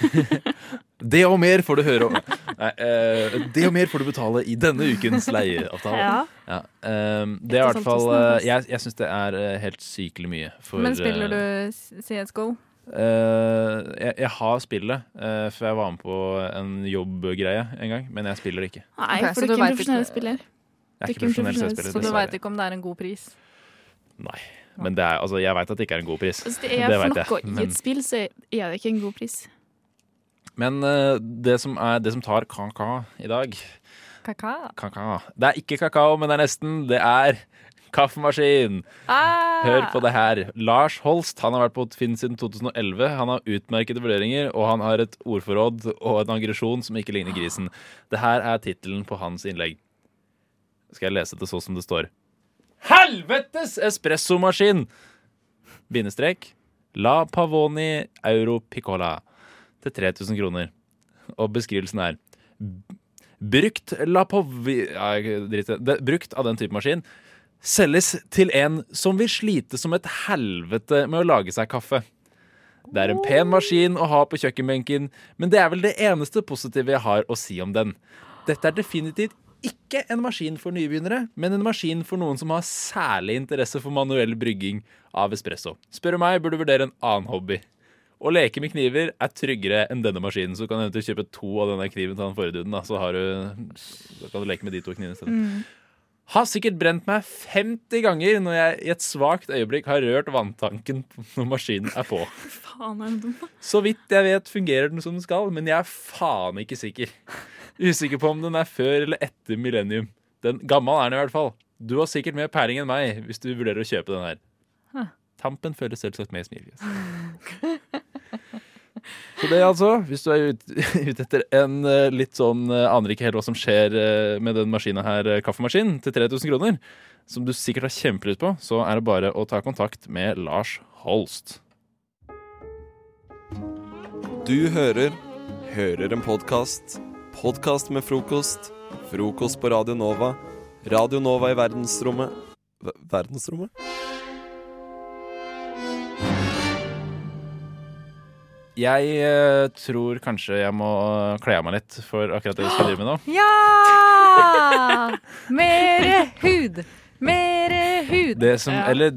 Speaker 19: Det og mer får du høre om. Nei, eh, det og mer får du betale i denne ukens leieavtale.
Speaker 21: Ja. sånn
Speaker 19: eh, det er i hvert fall
Speaker 20: 1500
Speaker 19: eh, Jeg, jeg syns det er eh, helt sykelig mye. For,
Speaker 20: Men spiller du
Speaker 19: eh,
Speaker 20: CSGO?
Speaker 19: eh, jeg, jeg har spillet, eh, for jeg var med på en jobbgreie en gang, men jeg spiller det ikke.
Speaker 21: Nei,
Speaker 20: Ok, så
Speaker 21: for
Speaker 20: du
Speaker 21: du er ikke
Speaker 20: vet
Speaker 21: en profesjonell
Speaker 20: ikke-
Speaker 21: spiller.
Speaker 19: Jeg
Speaker 21: Du
Speaker 19: er ikke profesjonell
Speaker 21: profesjonell-
Speaker 19: spiller,
Speaker 20: Så du
Speaker 19: dessverre.
Speaker 20: veit ikke om det er en god pris?
Speaker 19: Nei. Men det er, altså, jeg veit at det ikke er en god pris.
Speaker 21: Hvis Altså, det er for
Speaker 19: vet
Speaker 21: noe
Speaker 19: jeg,
Speaker 21: i
Speaker 19: men-
Speaker 21: et spill, så er det ikke en god pris.
Speaker 19: Men eh, det, som er, det som tar kaka i dag
Speaker 20: Kaka?
Speaker 19: Kaka. Det er ikke kakao, men det er nesten. Det er kaffemaskin. Hør på det her. Lars Holst han har vært på Finn siden 2011. Han har utmerkede vurderinger, og han har et ordforråd og en aggresjon som ikke ligner grisen. Det her er tittelen på hans innlegg. Skal jeg lese det så som det står? Helvetes espressomaskin! Bindestrek. La Pavoni Euro Piccola til 3000 kroner. Og beskrivelsen er b- Brukt La Pavi... Nei, drit i det. det. Brukt av den type maskin selges til en som vil slite som et helvete med å lage seg kaffe. Det er en pen maskin å ha på kjøkkenbenken, men det er vel det eneste positive jeg har å si om den. Dette er definitivt ikke en maskin for nybegynnere, men en maskin for noen som har særlig interesse for manuell brygging av espresso. Spør du meg, burde du vurdere en annen hobby. Å leke med kniver er tryggere enn denne maskinen, så du kan du eventuelt kjøpe to av denne kniven til han forrige duden, da, så har du, da kan du leke med de to knivene i stedet. Har sikkert brent meg 50 ganger når jeg i et svakt øyeblikk har rørt vanntanken når maskinen er på.
Speaker 21: Faen, er det dumt?
Speaker 19: Så vidt jeg vet fungerer den som den skal, men jeg er faen ikke sikker. Usikker på om den er før eller etter millennium. Den Gammel er den i hvert fall. Du har sikkert mer peiling enn meg hvis du vurderer å kjøpe den her.
Speaker 20: Huh.
Speaker 19: Tampen føles selvsagt med smilefjes. Så det altså, hvis du er ute ut etter en eh, litt sånn eh, Aner ikke helt hva som skjer eh, med den maskina her, eh, kaffemaskinen, til 3000 kroner, som du sikkert har kjempelyst på, så er det bare å ta kontakt med Lars Holst.
Speaker 22: Du hører Hører en podkast. Podkast med frokost. Frokost på Radio Nova. Radio Nova i verdensrommet Ver- Verdensrommet?
Speaker 19: Jeg eh, tror kanskje jeg må kle av meg litt for akkurat det vi skal drive med nå.
Speaker 20: Ja! Mere hud! Mere hud!
Speaker 19: Det som,
Speaker 20: ja.
Speaker 19: Eller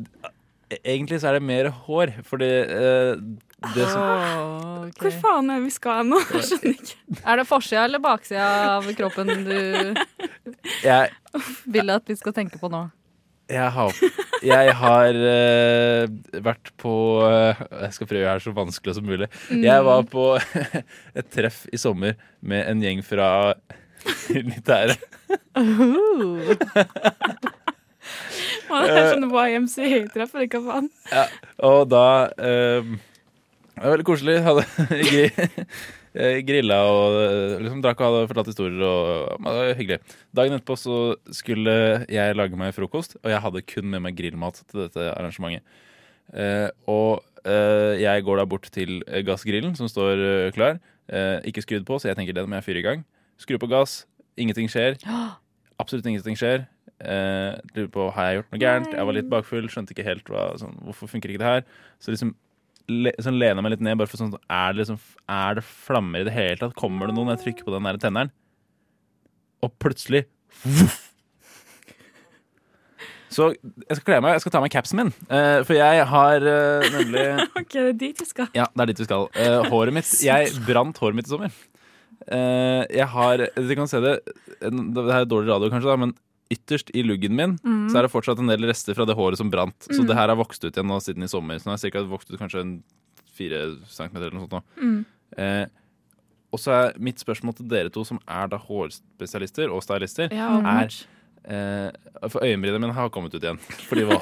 Speaker 19: eh, egentlig så er det mer hår, fordi eh, det
Speaker 21: Ah.
Speaker 19: som
Speaker 21: Hvor faen er vi skal hen nå? Jeg skjønner ikke.
Speaker 20: Er det forsida eller baksida av kroppen du
Speaker 19: jeg,
Speaker 20: vil at vi skal tenke på nå?
Speaker 19: jeg har, jeg har eh, vært på eh, Jeg skal prøve å gjøre det så vanskelig som mulig.
Speaker 20: Mm.
Speaker 19: Jeg var på et treff i sommer med en gjeng fra militæret.
Speaker 21: Oh. Å, Det er sånn YMCA-treff, eller hva faen?
Speaker 19: Ja, og da ehm, Det var veldig koselig. Hadde gri, eh, grilla og eh, liksom drakk og hadde fortalt historier. Og, men det var hyggelig. Dagen etterpå så skulle jeg lage meg frokost, og jeg hadde kun med meg grillmat til dette arrangementet. Eh, og eh, jeg går da bort til eh, gassgrillen, som står eh, klar. Eh, ikke skrudd på, så jeg tenker den må jeg fyre i gang. Skru på gass, ingenting skjer. Absolutt ingenting skjer. Eh, lurer på har jeg gjort noe gærent. Jeg var litt bakfull, skjønte ikke helt hva, sånn, hvorfor funker ikke det her. Så liksom le, sånn, lener jeg meg litt ned, bare for sånn er det, liksom, er det flammer i det hele tatt? Kommer det noe når jeg trykker på den der tenneren? Og plutselig voff! Så jeg skal kle av meg, jeg skal ta av meg capsen min, eh, for jeg har eh, nemlig
Speaker 21: OK, det er dit vi skal.
Speaker 19: ja, det er dit vi skal. Eh, håret mitt Jeg brant håret mitt i sommer. Eh, jeg har Dere kan se det. en- Det her er dårlig radio, kanskje, da, men ytterst i luggen min
Speaker 4: Mm.
Speaker 19: Så er det fortsatt en del rester fra det håret som brant. Så
Speaker 4: Mm.
Speaker 19: det her har vokst ut igjen nå siden i sommer. Så nå har jeg cirka vokst ut kanskje en fire centimeter eller noe sånt. nå
Speaker 4: Mm.
Speaker 19: Eh, og så er mitt spørsmål til dere to, som er da hårspesialister og stylister,
Speaker 4: Ja,
Speaker 19: er
Speaker 4: åpenbart.
Speaker 19: Eh, for øyenbrynene mine har kommet ut igjen. For de var,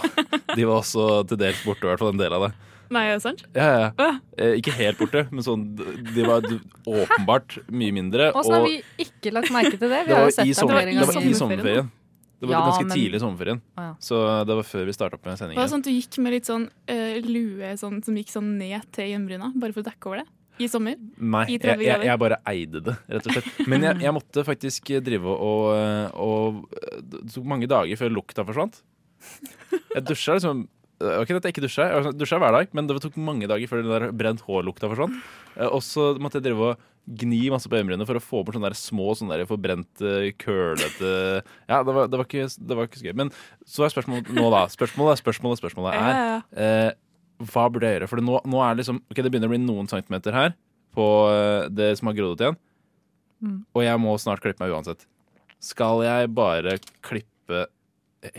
Speaker 19: de var også til dels borte, i hvert fall en del av det.
Speaker 21: Nei, er det sant?
Speaker 19: Ja, ja, ja. Eh, ikke helt borte, men sånn De var d- åpenbart mye mindre.
Speaker 20: Åssen har vi ikke lagt merke til det? Vi
Speaker 19: Eh, det
Speaker 20: har jo
Speaker 19: var,
Speaker 20: sett
Speaker 19: i
Speaker 20: deg
Speaker 19: sommer,
Speaker 20: flere
Speaker 19: det var
Speaker 20: ganger.
Speaker 19: i sommerferien. Det var
Speaker 20: Ja,
Speaker 19: ganske
Speaker 20: men-
Speaker 19: tidlig i sommerferien.
Speaker 20: Å, ja.
Speaker 19: Så det var før vi starta opp med
Speaker 21: Var det
Speaker 19: sendingen.
Speaker 21: sånn at du gikk med litt sånn eh, lue sånn, som gikk sånn ned til øyenbryna, bare for å dekke over det? I sommer?
Speaker 19: Nei,
Speaker 21: I
Speaker 19: jeg,
Speaker 21: 30
Speaker 19: jeg,
Speaker 21: grader?
Speaker 19: jeg bare eide det, rett og slett. Men jeg, jeg måtte faktisk eh, drive og, eh, og Det tok mange dager før lukta forsvant. Jeg dusja liksom det var ikke det at jeg ikke dusja, jeg sånn, dusja hver dag, men det tok mange dager før den der brent hår-lukta forsvant. Eh, Og så måtte jeg drive og gni masse på øyenbrynene for å få bort sånne der små sånne der forbrente, curlete Ja, det var, det, var ikke, det var ikke så gøy. Men så er spørsmålet nå, da. Spørsmålet, spørsmålet, spørsmålet er
Speaker 21: Ja,
Speaker 19: eh, Hva burde jeg gjøre? For nå, nå er det liksom Ok, det begynner å bli noen centimeter her på eh, det som har grodd ut igjen.
Speaker 20: Mm.
Speaker 19: Og jeg må snart klippe meg uansett. Skal jeg bare klippe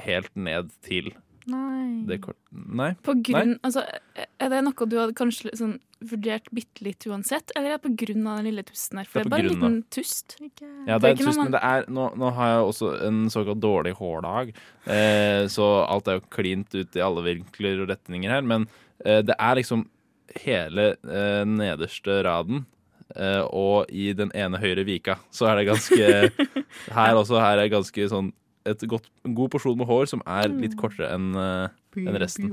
Speaker 19: helt ned til
Speaker 20: Nei.
Speaker 19: det kort... Nei.
Speaker 21: På grunn,
Speaker 19: Nei?
Speaker 21: altså, er det noe du hadde kanskje litt sånn vurdert bitte litt uansett, eller er det på grunn av den lille tusten her? For det
Speaker 19: Det er
Speaker 21: er
Speaker 19: på
Speaker 21: bare en
Speaker 19: grunn
Speaker 21: liten tust.
Speaker 19: Ja, det er
Speaker 21: ikke noe
Speaker 19: trist, men
Speaker 21: man-
Speaker 19: det er, nå, nå har jeg også en såkalt dårlig hårdag, eh, så alt er jo klint ut i alle vinkler og retninger her, men eh, det er liksom hele eh, nederste raden, eh, og i den ene høyre vika, så er det ganske Her også her er ganske sånn et godt, en god porsjon med hår som er
Speaker 21: Mm.
Speaker 19: litt kortere enn eh, enn resten.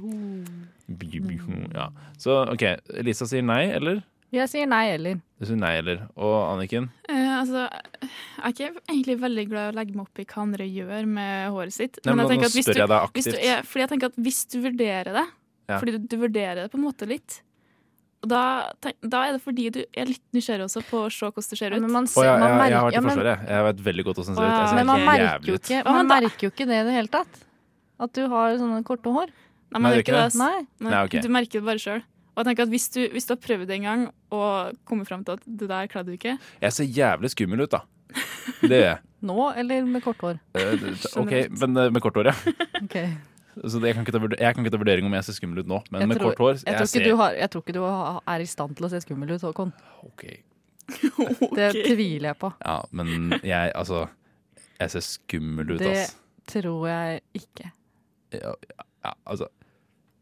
Speaker 19: Ja. Så OK, Lisa sier nei, eller?
Speaker 20: Jeg sier nei eller.
Speaker 19: Du sier nei, eller? Og Anniken?
Speaker 21: Eh, altså, jeg er ikke egentlig veldig glad i å legge meg opp i hva andre gjør med håret sitt.
Speaker 19: Nei, men nå-
Speaker 21: tenker
Speaker 19: nå
Speaker 21: at hvis
Speaker 19: spør
Speaker 21: du-
Speaker 19: jeg deg
Speaker 21: hvis du
Speaker 19: aktivt.
Speaker 21: er- Fordi jeg tenker at hvis du vurderer det,
Speaker 19: Ja.
Speaker 21: fordi du, du vurderer det på en måte litt, og da, tenk, da er det fordi du er litt nysgjerrig også på å se hvordan det ser ut.
Speaker 20: man
Speaker 19: Å ja, jeg, jeg har vært
Speaker 20: ja,
Speaker 19: i
Speaker 20: men-
Speaker 19: Forsvaret. Jeg vet veldig godt åssen det ser ut.
Speaker 21: Å ja,
Speaker 19: Jeg ser
Speaker 21: men
Speaker 19: helt
Speaker 21: man merker
Speaker 19: jævlig ut.
Speaker 20: Ikke, man merker jo ikke det i det hele tatt. At du har sånne korte hår.
Speaker 21: Nei,
Speaker 19: Nei,
Speaker 21: man gjør
Speaker 19: det er
Speaker 21: ikke det.
Speaker 19: ikke det.
Speaker 20: Nei.
Speaker 19: Nei, ok.
Speaker 21: Du merker det bare sjøl. Og jeg tenker at hvis du, hvis du har prøvd det en gang og kommer fram til at det der kledde du ikke
Speaker 19: Jeg ser jævlig skummel ut, da. Det gjør jeg.
Speaker 20: Nå eller med kort hår?
Speaker 19: Eh, det- OK, men eh, med kort hår, ja.
Speaker 20: Ok.
Speaker 19: Så det, jeg, kan ikke ta, vurder- jeg kan ikke ta vurdering om jeg ser skummel ut nå, men
Speaker 20: Jeg
Speaker 19: med
Speaker 20: tror-
Speaker 19: kort hår
Speaker 20: jeg tror, ikke
Speaker 19: ser
Speaker 20: du har, jeg tror ikke du har- er i stand til å se skummel ut, Håkon.
Speaker 19: Ok.
Speaker 20: Det tviler jeg på.
Speaker 19: Ja, men jeg, altså Jeg ser skummel ut,
Speaker 20: Det
Speaker 19: ass.
Speaker 20: tror jeg ikke.
Speaker 19: Ja, ja, altså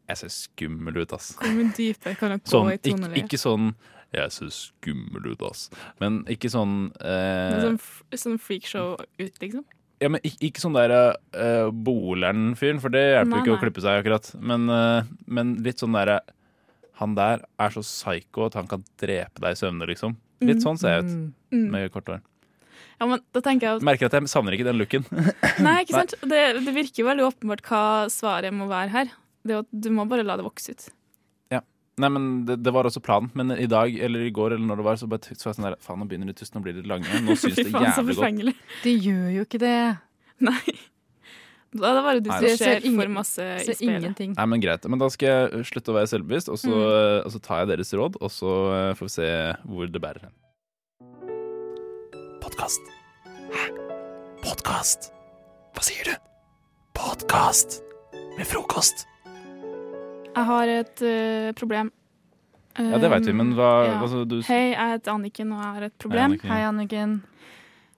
Speaker 19: Jeg ser skummel ut, ass.
Speaker 21: Hvor dype kan det gå
Speaker 19: Sånn,
Speaker 21: i
Speaker 19: ikke,
Speaker 21: toneleie?
Speaker 19: ikke sånn Jeg ser skummel ut, ass. Men ikke sånn eh,
Speaker 21: Noe Sånn, f- sånn freakshow ut, liksom.
Speaker 19: Ja, men ikke, ikke sånn der uh, Boleren-fyren, for det hjelper
Speaker 21: Nei,
Speaker 19: jo ikke å
Speaker 21: nei.
Speaker 19: klippe seg akkurat. Men, eh, men litt sånn derre Han der er så psycho at han kan drepe deg i søvne, liksom. Litt
Speaker 21: Mm.
Speaker 19: sånn ser jeg ut
Speaker 21: Mm.
Speaker 19: med kort hår.
Speaker 21: Ja, men da tenker jeg at
Speaker 19: Merker at jeg savner ikke den looken.
Speaker 21: Nei, ikke sant? Det, det virker veldig åpenbart hva svaret må være her. Det er at du må bare la det vokse ut.
Speaker 19: Ja. Nei, men det, det var også planen. Men i dag eller i går eller når det var, så bare t- så var jeg sånn der Faen, nå begynner de tusen å bli litt lange. Nå syns det
Speaker 21: Fy faen, så
Speaker 19: jævlig godt.
Speaker 21: forfengelig.
Speaker 20: De gjør jo ikke det.
Speaker 21: Da er det bare du
Speaker 19: Nei,
Speaker 21: som
Speaker 19: det-
Speaker 21: ser
Speaker 20: ser ingen-
Speaker 21: for masse i
Speaker 20: ser
Speaker 21: speilet.
Speaker 20: ingenting.
Speaker 19: Nei, men greit. Men da skal jeg eh, slutte å være selvbevisst, og så,
Speaker 21: Mm.
Speaker 19: eh, og så tar jeg deres råd, og så eh, får vi se hvor det bærer hen. Podkast. Podkast. Hva sier du? Podkast med frokost.
Speaker 21: Jeg har et eh, problem. Ehm,
Speaker 19: Ja, det vet vi, men hva- hva så du-
Speaker 21: Hei, jeg heter Anniken, og jeg har et problem.
Speaker 19: Anniken. Hei,
Speaker 20: Anniken.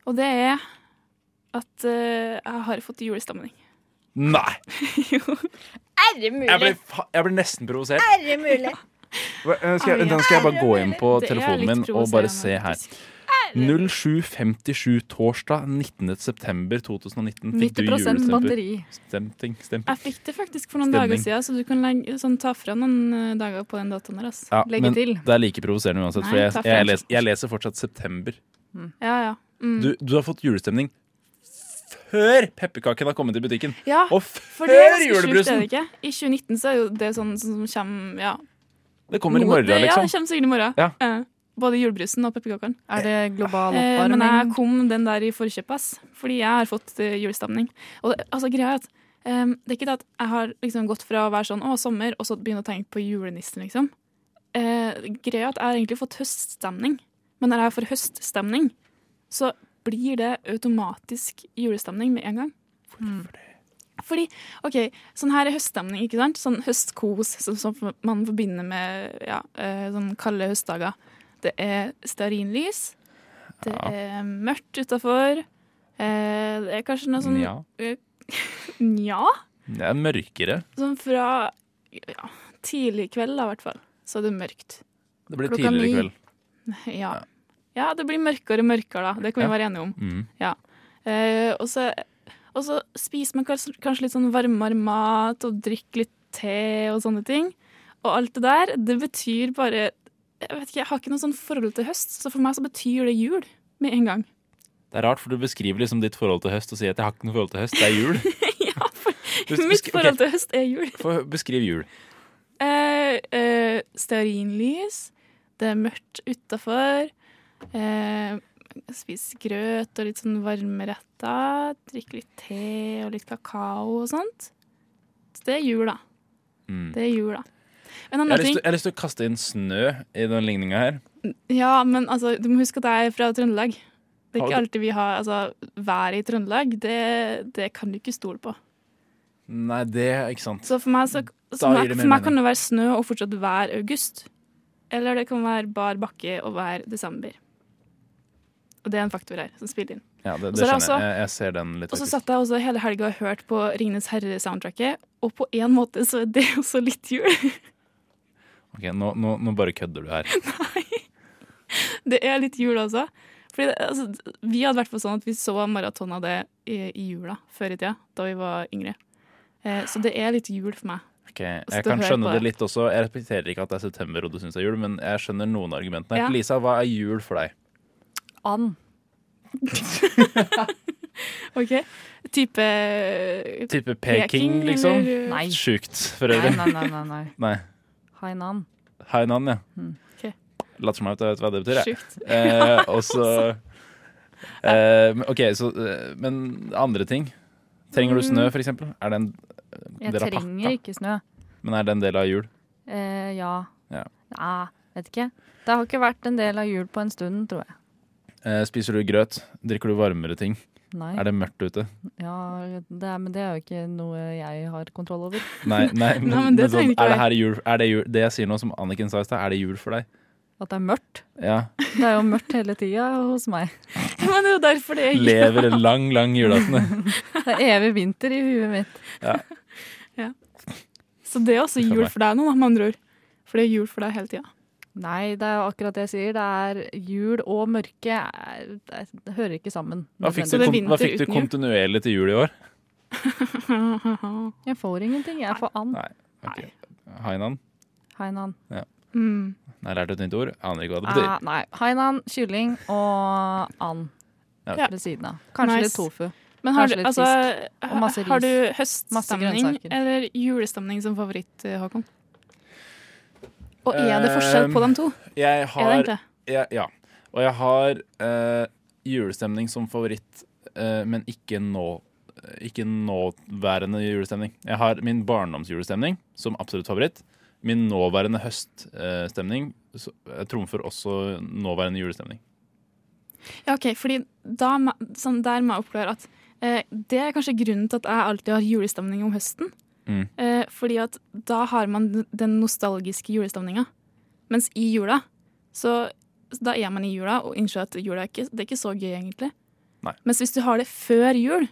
Speaker 21: Og det er at eh, jeg har fått julestemning.
Speaker 19: Nei!
Speaker 21: Er det
Speaker 19: Jeg ble, fa- jeg ble nesten provosert.
Speaker 21: det mulig?
Speaker 19: Hva- eh, Skal jeg,
Speaker 21: Ai, ja.
Speaker 19: da skal jeg bare gå inn på
Speaker 21: Det er
Speaker 19: telefonen
Speaker 21: litt
Speaker 19: min og bare
Speaker 21: provoserende,
Speaker 19: se her. 07.57 torsdag 19. september 2019 fikk du
Speaker 21: 90%
Speaker 19: julestemper.
Speaker 21: batteri.
Speaker 19: Stemting, stemting.
Speaker 21: Jeg fikk det faktisk for noen
Speaker 19: Stemning.
Speaker 21: dager siden, så du kan legge, sånn, ta fra noen eh, dager på den datoen der. Altså.
Speaker 19: Ja,
Speaker 21: Legge
Speaker 19: men
Speaker 21: til.
Speaker 19: det er like provoserende uansett, for
Speaker 21: Nei,
Speaker 19: jeg,
Speaker 21: ta
Speaker 19: jeg,
Speaker 21: feil.
Speaker 19: leser, jeg leser fortsatt september.
Speaker 21: Ja, ja. Mm.
Speaker 19: Du, du har fått julestemning før pepperkaken har kommet i butikken.
Speaker 21: ja,
Speaker 19: Og
Speaker 21: for det er
Speaker 19: før
Speaker 21: ganske sjukt,
Speaker 19: julebrusen!
Speaker 21: er det ikke? I 2019 så er jo det sånn som kommer ja,
Speaker 19: Det kommer i
Speaker 21: nå-
Speaker 19: morgen,
Speaker 21: det- Ja,
Speaker 19: liksom.
Speaker 21: det kommer sikkert i morgen.
Speaker 19: Ja.
Speaker 21: Eh, Både julebrusen og pepperkakene.
Speaker 20: Er det global
Speaker 21: Eh, Men
Speaker 20: oppvarming?
Speaker 21: jeg kom den der i forkjøpet, ass, fordi jeg har fått eh, julestemning. Og det, altså, greia er at eh, det er ikke det at jeg har liksom gått fra å være sånn å, sommer, og så begynne å tenke på julenissen, liksom. Eh, greia er at jeg har egentlig fått høststemning, men når jeg får høststemning, så blir det automatisk julestemning med en gang.
Speaker 19: Mm.
Speaker 21: Fordi, ok, sånn her er høststemning, ikke sant? Sånn høstkos som, som man forbinder med ja, eh, sånn kalde høstdager. Det er stearinlys, det er mørkt utafor, Eh, det er kanskje noe sånn
Speaker 19: Nja.
Speaker 21: eh, Nja?
Speaker 19: Det er mørkere.
Speaker 21: Sånn fra ja, tidlig kveld, da, i hvert fall. Så er det mørkt.
Speaker 19: Det blir
Speaker 21: Klokka
Speaker 19: tidligere i
Speaker 21: ni.
Speaker 19: kveld.
Speaker 21: Ja. ja, det blir mørkere og mørkere, da. Det kan vi
Speaker 19: Ja.
Speaker 21: være enige om.
Speaker 19: Mm.
Speaker 21: Ja. Eh, og så og så spiser man kanskje, kanskje litt sånn varmere mat og drikker litt te og sånne ting. Og alt det der, det betyr bare Jeg vet ikke, jeg har ikke noe sånn forhold til høst, så for meg så betyr det jul med en gang.
Speaker 19: Det er rart, for du beskriver liksom ditt forhold til høst og sier at jeg har ikke noe forhold til høst, det er jul. Du- du
Speaker 21: Mitt
Speaker 19: sk- ok,
Speaker 21: forhold til høst er jul.
Speaker 19: få- Beskriv jul.
Speaker 21: Eh, eh, stearinlys, det er mørkt utafor. Eh, spis grøt og litt sånn varmeretter. Drikk litt te og litt kakao og sånt. Så det er jul, da.
Speaker 19: Mm.
Speaker 21: Det er jul, da. En
Speaker 19: Jeg har,
Speaker 21: annen
Speaker 19: lyst
Speaker 21: ting
Speaker 19: til, jeg har lyst til å kaste inn snø i den ligninga her.
Speaker 21: Ja, men altså, du må huske at jeg er fra Trøndelag. Det er ikke
Speaker 19: Har du-
Speaker 21: alltid vi har altså, Været i Trøndelag, det, det kan du ikke stole på.
Speaker 19: Nei, det er ikke sant.
Speaker 21: Så for meg, så, så meg,
Speaker 19: gir det mer
Speaker 21: for meg
Speaker 19: mening.
Speaker 21: kan det være snø og fortsatt være august. Eller det kan være bar bakke og være desember. Og det er en faktor her som spiller inn.
Speaker 19: Ja, det,
Speaker 21: Og
Speaker 19: det
Speaker 21: så er det
Speaker 19: skjønner
Speaker 21: også-
Speaker 19: jeg. jeg. Jeg ser den litt.
Speaker 21: Og så
Speaker 19: faktisk.
Speaker 21: satt jeg også hele helga og hørte på Ringenes herre-soundtracket, og på en måte så er det også litt jul.
Speaker 19: Ok, nå, nå, nå bare kødder du her.
Speaker 21: Det er litt jul også. Fordi det, altså, vi hadde vært på sånn at vi så maraton av det i, i jula før i tida, da vi var yngre. Eh, så det er litt jul for meg.
Speaker 19: Ok, Jeg
Speaker 21: Stå
Speaker 19: kan
Speaker 21: her på
Speaker 19: skjønne det
Speaker 21: det.
Speaker 19: litt også. Jeg respekterer ikke at det er september og du syns det er jul, men jeg skjønner noen av argumentene.
Speaker 20: Ja.
Speaker 19: Lisa, hva er jul for deg?
Speaker 20: And.
Speaker 21: OK? Type
Speaker 20: Eh,
Speaker 19: Type Peking, liksom?
Speaker 20: eller- Nei.
Speaker 19: Sjukt, for øvrig.
Speaker 20: Nei, nei, nei, nei, nei.
Speaker 19: Nei.
Speaker 20: Hainan.
Speaker 19: Hainan, ja.
Speaker 21: Ok.
Speaker 19: Later som jeg vet hva det betyr, jeg.
Speaker 20: Mm, Sjukt.
Speaker 19: Eh, og så eh, men- OK, så eh, Men andre ting? Trenger du snø,
Speaker 20: Mm.
Speaker 19: for eksempel? Er det en en
Speaker 20: Jeg
Speaker 19: del av
Speaker 20: trenger
Speaker 19: pakka?
Speaker 20: ikke snø.
Speaker 19: Men er det en del av jul?
Speaker 20: Eh, ja.
Speaker 19: Ja.
Speaker 20: Nei, vet ikke. Det har ikke vært en del av jul på en stund, tror jeg.
Speaker 19: Eh, spiser du grøt? Drikker du varmere ting?
Speaker 20: Nei.
Speaker 19: Er det mørkt ute?
Speaker 20: Ja, det er, men det er jo ikke noe jeg har kontroll over.
Speaker 19: Nei, nei, men,
Speaker 20: men det trenger
Speaker 19: sånn,
Speaker 20: ikke
Speaker 19: er det
Speaker 20: være.
Speaker 19: her jul? Er det jul? Det jeg sier nå, som Anniken sa i stad, er det jul for deg?
Speaker 20: At det er mørkt.
Speaker 19: Ja.
Speaker 20: Det er jo mørkt hele tida hos meg.
Speaker 21: Men det er jo derfor det
Speaker 19: Lever en lang, lang julaften.
Speaker 20: Det er evig vinter i huet mitt.
Speaker 19: Ja.
Speaker 21: Så det er også
Speaker 20: Skjønner
Speaker 21: jul
Speaker 20: jeg.
Speaker 21: for deg nå, da, med andre ord. For det er jul for deg hele tida.
Speaker 20: Nei, det er jo akkurat det jeg sier. Det er jul og mørke er, det, er, det hører ikke sammen.
Speaker 19: Hva fikk du,
Speaker 20: nødvendigvis.
Speaker 19: kon- hva fikk du kontinuerlig til jul i år?
Speaker 20: Jeg får ingenting. Jeg får and.
Speaker 19: Okay. Hainan?
Speaker 20: Hainan.
Speaker 19: Ja.
Speaker 20: Mm.
Speaker 19: Jeg lærte et nytt ord. Aner ikke hva det
Speaker 20: Ah,
Speaker 19: betyr.
Speaker 20: nei. Hainan, kylling og and
Speaker 19: Ja, ok.
Speaker 20: ved siden av. Kanskje
Speaker 21: Nice.
Speaker 20: litt tofu.
Speaker 21: Men har,
Speaker 20: Kanskje
Speaker 21: du,
Speaker 20: litt
Speaker 21: altså,
Speaker 20: fisk. Og masse ris.
Speaker 21: har du
Speaker 20: Masse
Speaker 21: høststemning
Speaker 20: grønnsaker.
Speaker 21: eller julestemning som favoritt, Håkon? Og er det forskjell på de to?
Speaker 19: Eh, Ehm, Jeg har,
Speaker 21: Er det ikke?
Speaker 19: Ja, ja. Og jeg har eh, julestemning som favoritt, eh, men ikke nå. Ikke nåværende julestemning. Jeg har min barndomsjulestemning som absolutt favoritt. Min nåværende høststemning eh, trumfer også nåværende julestemning.
Speaker 21: Ja, ok, fordi da, må- sånn, der må jeg oppklare at eh, det er kanskje grunnen til at jeg alltid har julestemning om høsten.
Speaker 19: Mm.
Speaker 21: Eh, fordi at da har man den- den nostalgiske julestemninga. Mens i jula, så så da er man i jula og innser at jula er ikke, det er ikke så gøy, egentlig.
Speaker 19: Nei.
Speaker 21: Mens hvis du har det før jul,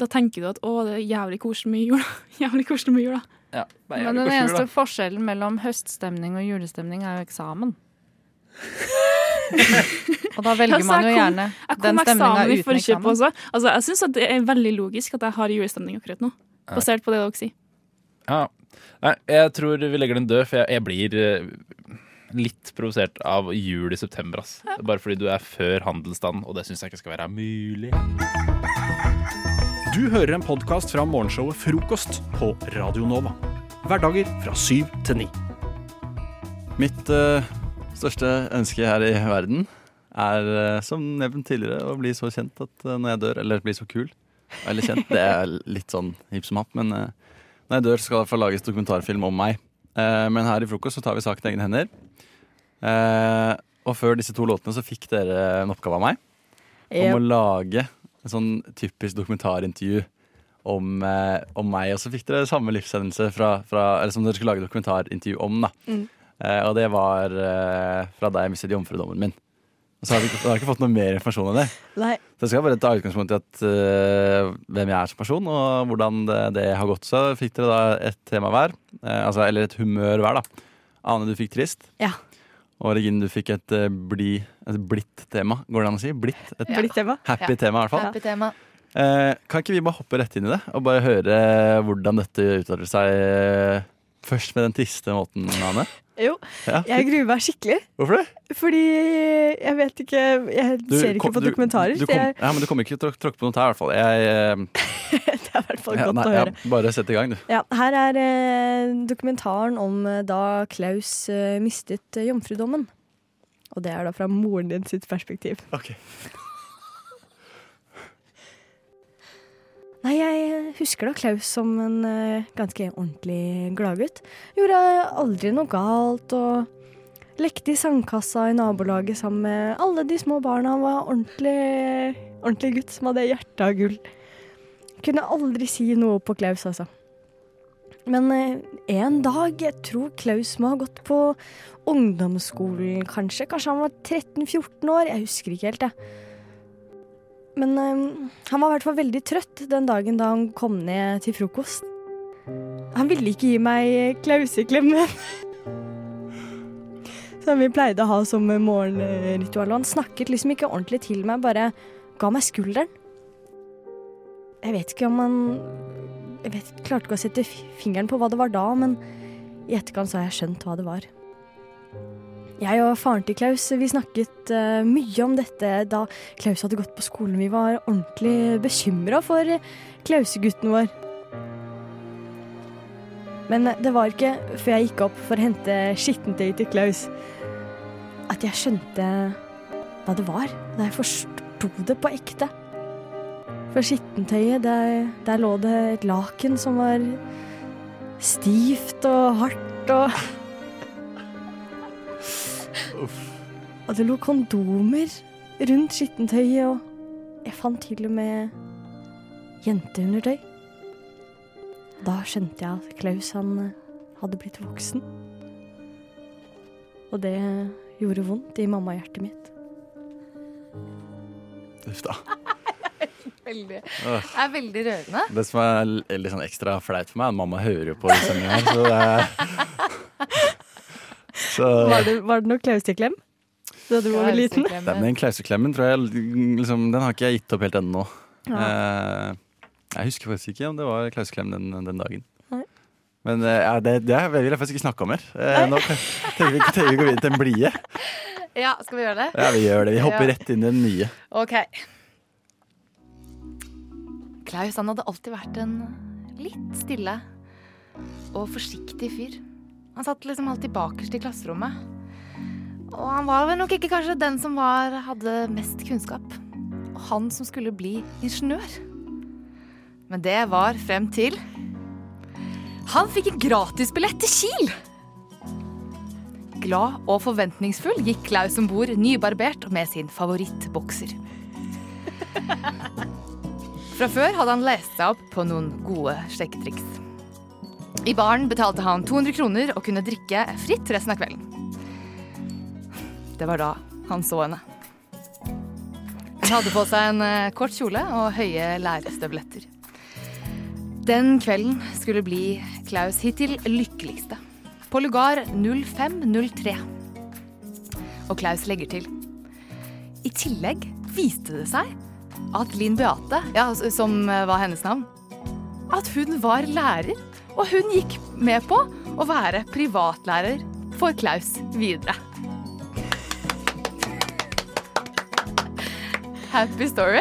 Speaker 21: da tenker du at å, det er jævlig koselig med jula. jævlig koselig med jula.
Speaker 19: Ja,
Speaker 20: Men den eneste forskjellen mellom høststemning og julestemning er jo eksamen. og da velger
Speaker 21: Altså,
Speaker 20: man jo
Speaker 21: jeg kom-
Speaker 20: gjerne
Speaker 21: Jeg kom
Speaker 20: den
Speaker 21: med eksamen
Speaker 20: stemninga
Speaker 21: i
Speaker 20: uten
Speaker 21: forkjøpet
Speaker 20: eksamen.
Speaker 21: også. Altså, jeg syns det er veldig logisk at jeg har julestemning akkurat nå,
Speaker 19: Ja.
Speaker 21: basert på det dere sier.
Speaker 19: Ja. Nei, jeg tror vi legger den død, for jeg, jeg blir eh, litt provosert av jul i september. Ass. Bare fordi du er før handelsstanden, og det syns jeg ikke skal være mulig.
Speaker 7: Du hører en podkast fra morgenshowet Frokost på Radio Nova. Hverdager fra syv til ni.
Speaker 6: Mitt eh, største ønske her i verden er, eh, som nevnt tidligere, å bli så kjent at eh, når jeg dør, eller bli så kul Eller kjent, det er litt sånn hipp som happ, men eh, når jeg dør, skal det i hvert fall lages dokumentarfilm om meg. Eh, men her i frokost så tar vi saken i egne hender. Eh, og før disse to låtene så fikk dere en oppgave av meg om å lage en sånn typisk dokumentarintervju om, eh, om meg. Og så fikk dere samme livshendelse fra, fra, eller som dere skulle lage dokumentarintervju om. da.
Speaker 23: Mm.
Speaker 6: Eh, og det var eh, fra da jeg mistet jomfrudommen min. Og så har vi ikke, har jeg ikke fått noe mer informasjon enn det.
Speaker 15: Nei.
Speaker 6: Så jeg skal bare ta utgangspunkt i at, eh, hvem jeg er som person, og hvordan det, det har gått. Så fikk dere da et tema hver, eh, altså, eller et humør hver. da. Ane, du fikk trist.
Speaker 15: Ja.
Speaker 6: Og Regine, du fikk et, eh, bli, et blitt tema. Går det an å si? Blitt? Et
Speaker 15: Ja. Blitt tema.
Speaker 6: Happy
Speaker 5: Ja.
Speaker 6: tema, i hvert fall.
Speaker 5: Happy tema.
Speaker 6: Eh, kan ikke vi bare hoppe rett inn i det, og bare høre eh, hvordan dette utarter seg eh, først med den triste måten, Ane?
Speaker 5: Jo,
Speaker 6: Ja.
Speaker 5: jeg gruer meg skikkelig.
Speaker 6: Hvorfor det?
Speaker 5: Fordi jeg vet ikke Jeg ser ikke
Speaker 6: kom-
Speaker 5: på dokumentarer.
Speaker 6: Du, du
Speaker 5: så
Speaker 6: kom,
Speaker 5: jeg,
Speaker 6: ja, men du kommer ikke til å tråk- tråkke på noe tær, i hvert fall. Jeg, eh,
Speaker 5: det er i hvert fall
Speaker 6: ja,
Speaker 5: godt
Speaker 6: nei,
Speaker 5: å
Speaker 6: ja,
Speaker 5: høre.
Speaker 6: bare sett i gang, du.
Speaker 5: Ja, her er eh, dokumentaren om eh, da Klaus eh, mistet eh, jomfrudommen. Og det er da fra moren din sitt perspektiv. Nei, jeg eh, husker da Klaus som en eh, ganske ordentlig gladgutt. Gjorde eh, aldri noe galt og lekte i sandkassa i nabolaget sammen med alle de små barna. Han var ordentlig, ordentlig gutt som hadde hjerte av gull. Kunne aldri si noe på Klaus, altså. Men eh, en dag, jeg tror Klaus må ha gått på ungdomsskolen, kanskje. Kanskje han var 13-14 år, jeg husker ikke helt, jeg. Men eh, han var i hvert fall veldig trøtt den dagen da han kom ned til frokost. Han ville ikke gi meg klauseklemmen. Som vi pleide å ha som morgenritual. Og han snakket liksom ikke ordentlig til meg, bare ga meg skulderen. Jeg vet ikke om han Jeg vet, klarte ikke å sette fi- fingeren på hva det var da, men i etterkant så har jeg skjønt hva det var. Jeg og faren til Klaus vi snakket eh, mye om dette da Klaus hadde gått på skolen. Vi var ordentlig bekymra for eh, Klausegutten vår. Men det var ikke før jeg gikk opp for å hente skittentøy til Klaus, at jeg skjønte hva det var. Da jeg forsto det på ekte. For skittentøyet, der, der lå det et laken som var stivt og hardt og Og det lå kondomer rundt skittentøyet, og jeg fant til og med jenteundertøy. Da skjønte jeg at Klaus han eh, hadde blitt voksen. Og det gjorde vondt i mammahjertet mitt.
Speaker 6: Uff da.
Speaker 5: Veldig.
Speaker 6: Åh.
Speaker 5: Det er veldig rørende.
Speaker 6: Det som er l- litt sånn ekstra flaut for meg, er at mamma hører jo på den sendingen her, så det er så,
Speaker 5: Var det, var det noe Klaus-klem da du var liten?
Speaker 6: Den, den klauseklemmen tror jeg liksom, Den har ikke jeg gitt opp helt ennå. Eh, jeg husker faktisk ikke om det var klauseklem den, den dagen.
Speaker 5: Nei.
Speaker 6: Men eh, ja, det, det vil jeg faktisk ikke snakke om mer. Eh, nå tenker vi, tenker vi å gå videre til en blide.
Speaker 5: Ja, skal vi gjøre det?
Speaker 6: Ja, vi gjør det. Vi hopper
Speaker 5: Ja.
Speaker 6: rett inn i den nye.
Speaker 5: OK.
Speaker 23: Klaus han hadde alltid vært en litt stille og forsiktig fyr. Han satt liksom alltid bakerst i klasserommet. Og han var vel nok ikke kanskje den som var, hadde mest kunnskap. Og han som skulle bli ingeniør. Men det var frem til Han fikk en gratisbillett til Kiel! Glad og forventningsfull gikk Klaus om bord, nybarbert og med sin favorittbokser. Fra før hadde han lest seg opp på noen gode sjekketriks. I baren betalte han 200 kroner og kunne drikke fritt resten av kvelden. Det var da han så henne. Hun hadde på seg en eh, kort kjole og høye lærestøvletter. Den kvelden skulle bli Klaus hittil lykkeligste. På lugar 0503. Og Klaus legger til. I tillegg viste det seg at Linn Beate, ja, s- som eh, var hennes navn, at hun var lærer, og hun gikk med på å være privatlærer for Klaus videre. Happy story.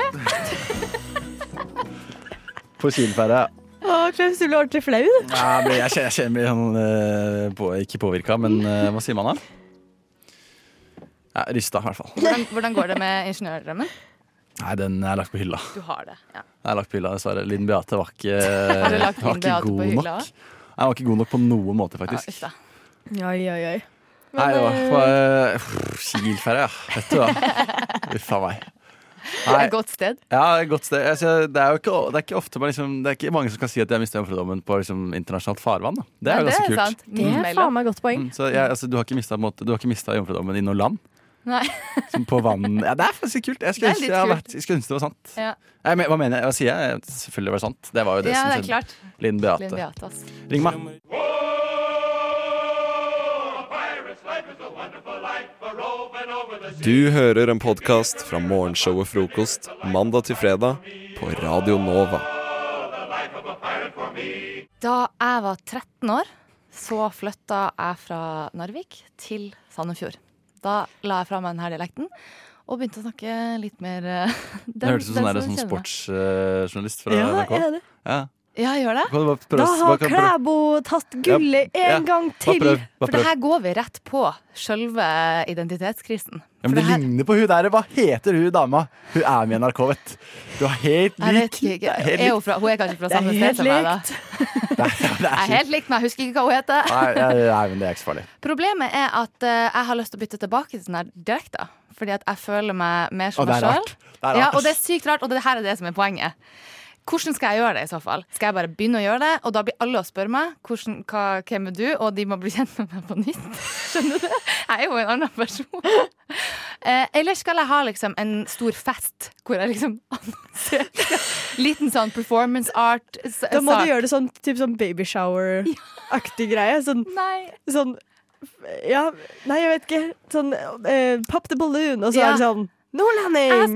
Speaker 6: På Kielferda.
Speaker 5: Å, Klaus, du ble ordentlig flau. du.
Speaker 6: Ja, jeg blir- jeg kjenner jeg kjenner jeg blir sånn eh, på, Ikke påvirka, men eh, hva sier man da? Ja, Rysta, i hvert fall.
Speaker 23: Hvordan, hvordan går det med ingeniørdrømmen?
Speaker 6: Nei, den er lagt på hylla.
Speaker 23: Du har det. ja.
Speaker 6: Jeg har lagt på hylla, dessverre. Linn Beate var ikke,
Speaker 23: Har du lagt
Speaker 6: var
Speaker 23: Linn
Speaker 6: ikke
Speaker 23: Beate på
Speaker 6: god nok.
Speaker 23: hylla?
Speaker 6: Nei, Hun var ikke god nok på noen måte, faktisk.
Speaker 23: uff da.
Speaker 5: Oi, oi, oi.
Speaker 6: Nei, det var,
Speaker 5: eh,
Speaker 6: var pff, Kielferja, ja. Vet du da. Uff a meg.
Speaker 23: Det er et godt sted.
Speaker 6: Ja, et godt sted. Altså, det er jo ikke, det er ikke ofte man liksom, Det er ikke mange som kan si at de har mistet jomfrudommen på liksom, internasjonalt farvann. Da. Det er jo
Speaker 5: Nei,
Speaker 6: ganske
Speaker 5: det er
Speaker 6: kult.
Speaker 23: Mm.
Speaker 6: Mm,
Speaker 5: sant. Det er faen meg godt poeng.
Speaker 6: Så jeg, altså, du har ikke mista jomfrudommen i noe land?
Speaker 23: Nei.
Speaker 6: Som på vann ja, Det er faktisk kult. Jeg
Speaker 23: Det er
Speaker 6: skulle ønske
Speaker 23: litt
Speaker 6: jeg hadde
Speaker 23: kult.
Speaker 6: vært- jeg skulle ønske det var sant.
Speaker 23: Ja.
Speaker 6: Nei, men hva mener jeg? Hva sier jeg? Selvfølgelig var det sant. Det var jo det
Speaker 23: Ja,
Speaker 6: som
Speaker 23: det
Speaker 6: skjedde.
Speaker 23: er klart.
Speaker 6: Linn Beate.
Speaker 23: Linn Beate, altså. ass.
Speaker 6: Ring meg.
Speaker 22: Du hører en podkast fra morgenshowet Frokost mandag til fredag på Radio Nova.
Speaker 23: Da jeg var 13 år, så flytta jeg fra Narvik til Sand og Fjord. Da la jeg fra meg denne dialekten og begynte å snakke litt mer eh,
Speaker 6: Det
Speaker 23: den-
Speaker 6: hørtes ut som en
Speaker 23: den som
Speaker 6: sånn
Speaker 23: kjenner meg.
Speaker 6: sportsjournalist fra
Speaker 23: Ja,
Speaker 6: NRK.
Speaker 23: er det?
Speaker 6: Ja.
Speaker 23: Ja, gjør det.
Speaker 6: Kan du bare prøve
Speaker 23: Da
Speaker 6: å-
Speaker 23: har
Speaker 6: bare kan- bare-
Speaker 23: Klæbo tatt
Speaker 6: gullet Ja, ja. en gang Bare til. prøv, bare
Speaker 23: For det
Speaker 6: prøv.
Speaker 23: her går vi rett på selve identitetskrisen.
Speaker 6: Ja, men det ligner på hun der. Hva heter hun dama? Hun er med i NRK, vet du. Du er helt
Speaker 23: Jeg
Speaker 6: lik.
Speaker 23: vet ikke.
Speaker 6: Det er helt
Speaker 23: Er hun,
Speaker 6: likt.
Speaker 23: fra, hun er kanskje fra Det er samme helt sted som meg, da. Jeg er helt likt, men jeg husker ikke hva hun heter.
Speaker 6: Nei, nei, nei, men det er ikke så farlig.
Speaker 23: Problemet er at eh, jeg har lyst til å bytte tilbake til den her direkte. Fordi at jeg føler meg mer som
Speaker 6: Og det
Speaker 23: meg
Speaker 6: er
Speaker 23: sjøl.
Speaker 6: rart. Det er rart,
Speaker 23: Ja,
Speaker 6: ass.
Speaker 23: og det er sykt rart, og det her er det som er poenget. Hvordan skal jeg gjøre det i så fall? Skal jeg bare begynne å gjøre det, og da blir alle å spørre meg hvordan, hva, hvem er du, og de må bli kjent med meg på nytt? Skjønner du? Jeg er jo en annen person. Eh, eller skal jeg ha liksom en stor fest hvor jeg liksom annonserer liten sånn performance art? s-
Speaker 5: Da må
Speaker 23: sak.
Speaker 5: du gjøre det sånn, typ sånn babyshower-aktig greie. Sånn, sånn Ja, nei, jeg vet ikke. Sånn eh, Pop the balloon, og så
Speaker 23: Ja.
Speaker 5: er det sånn Nordlending!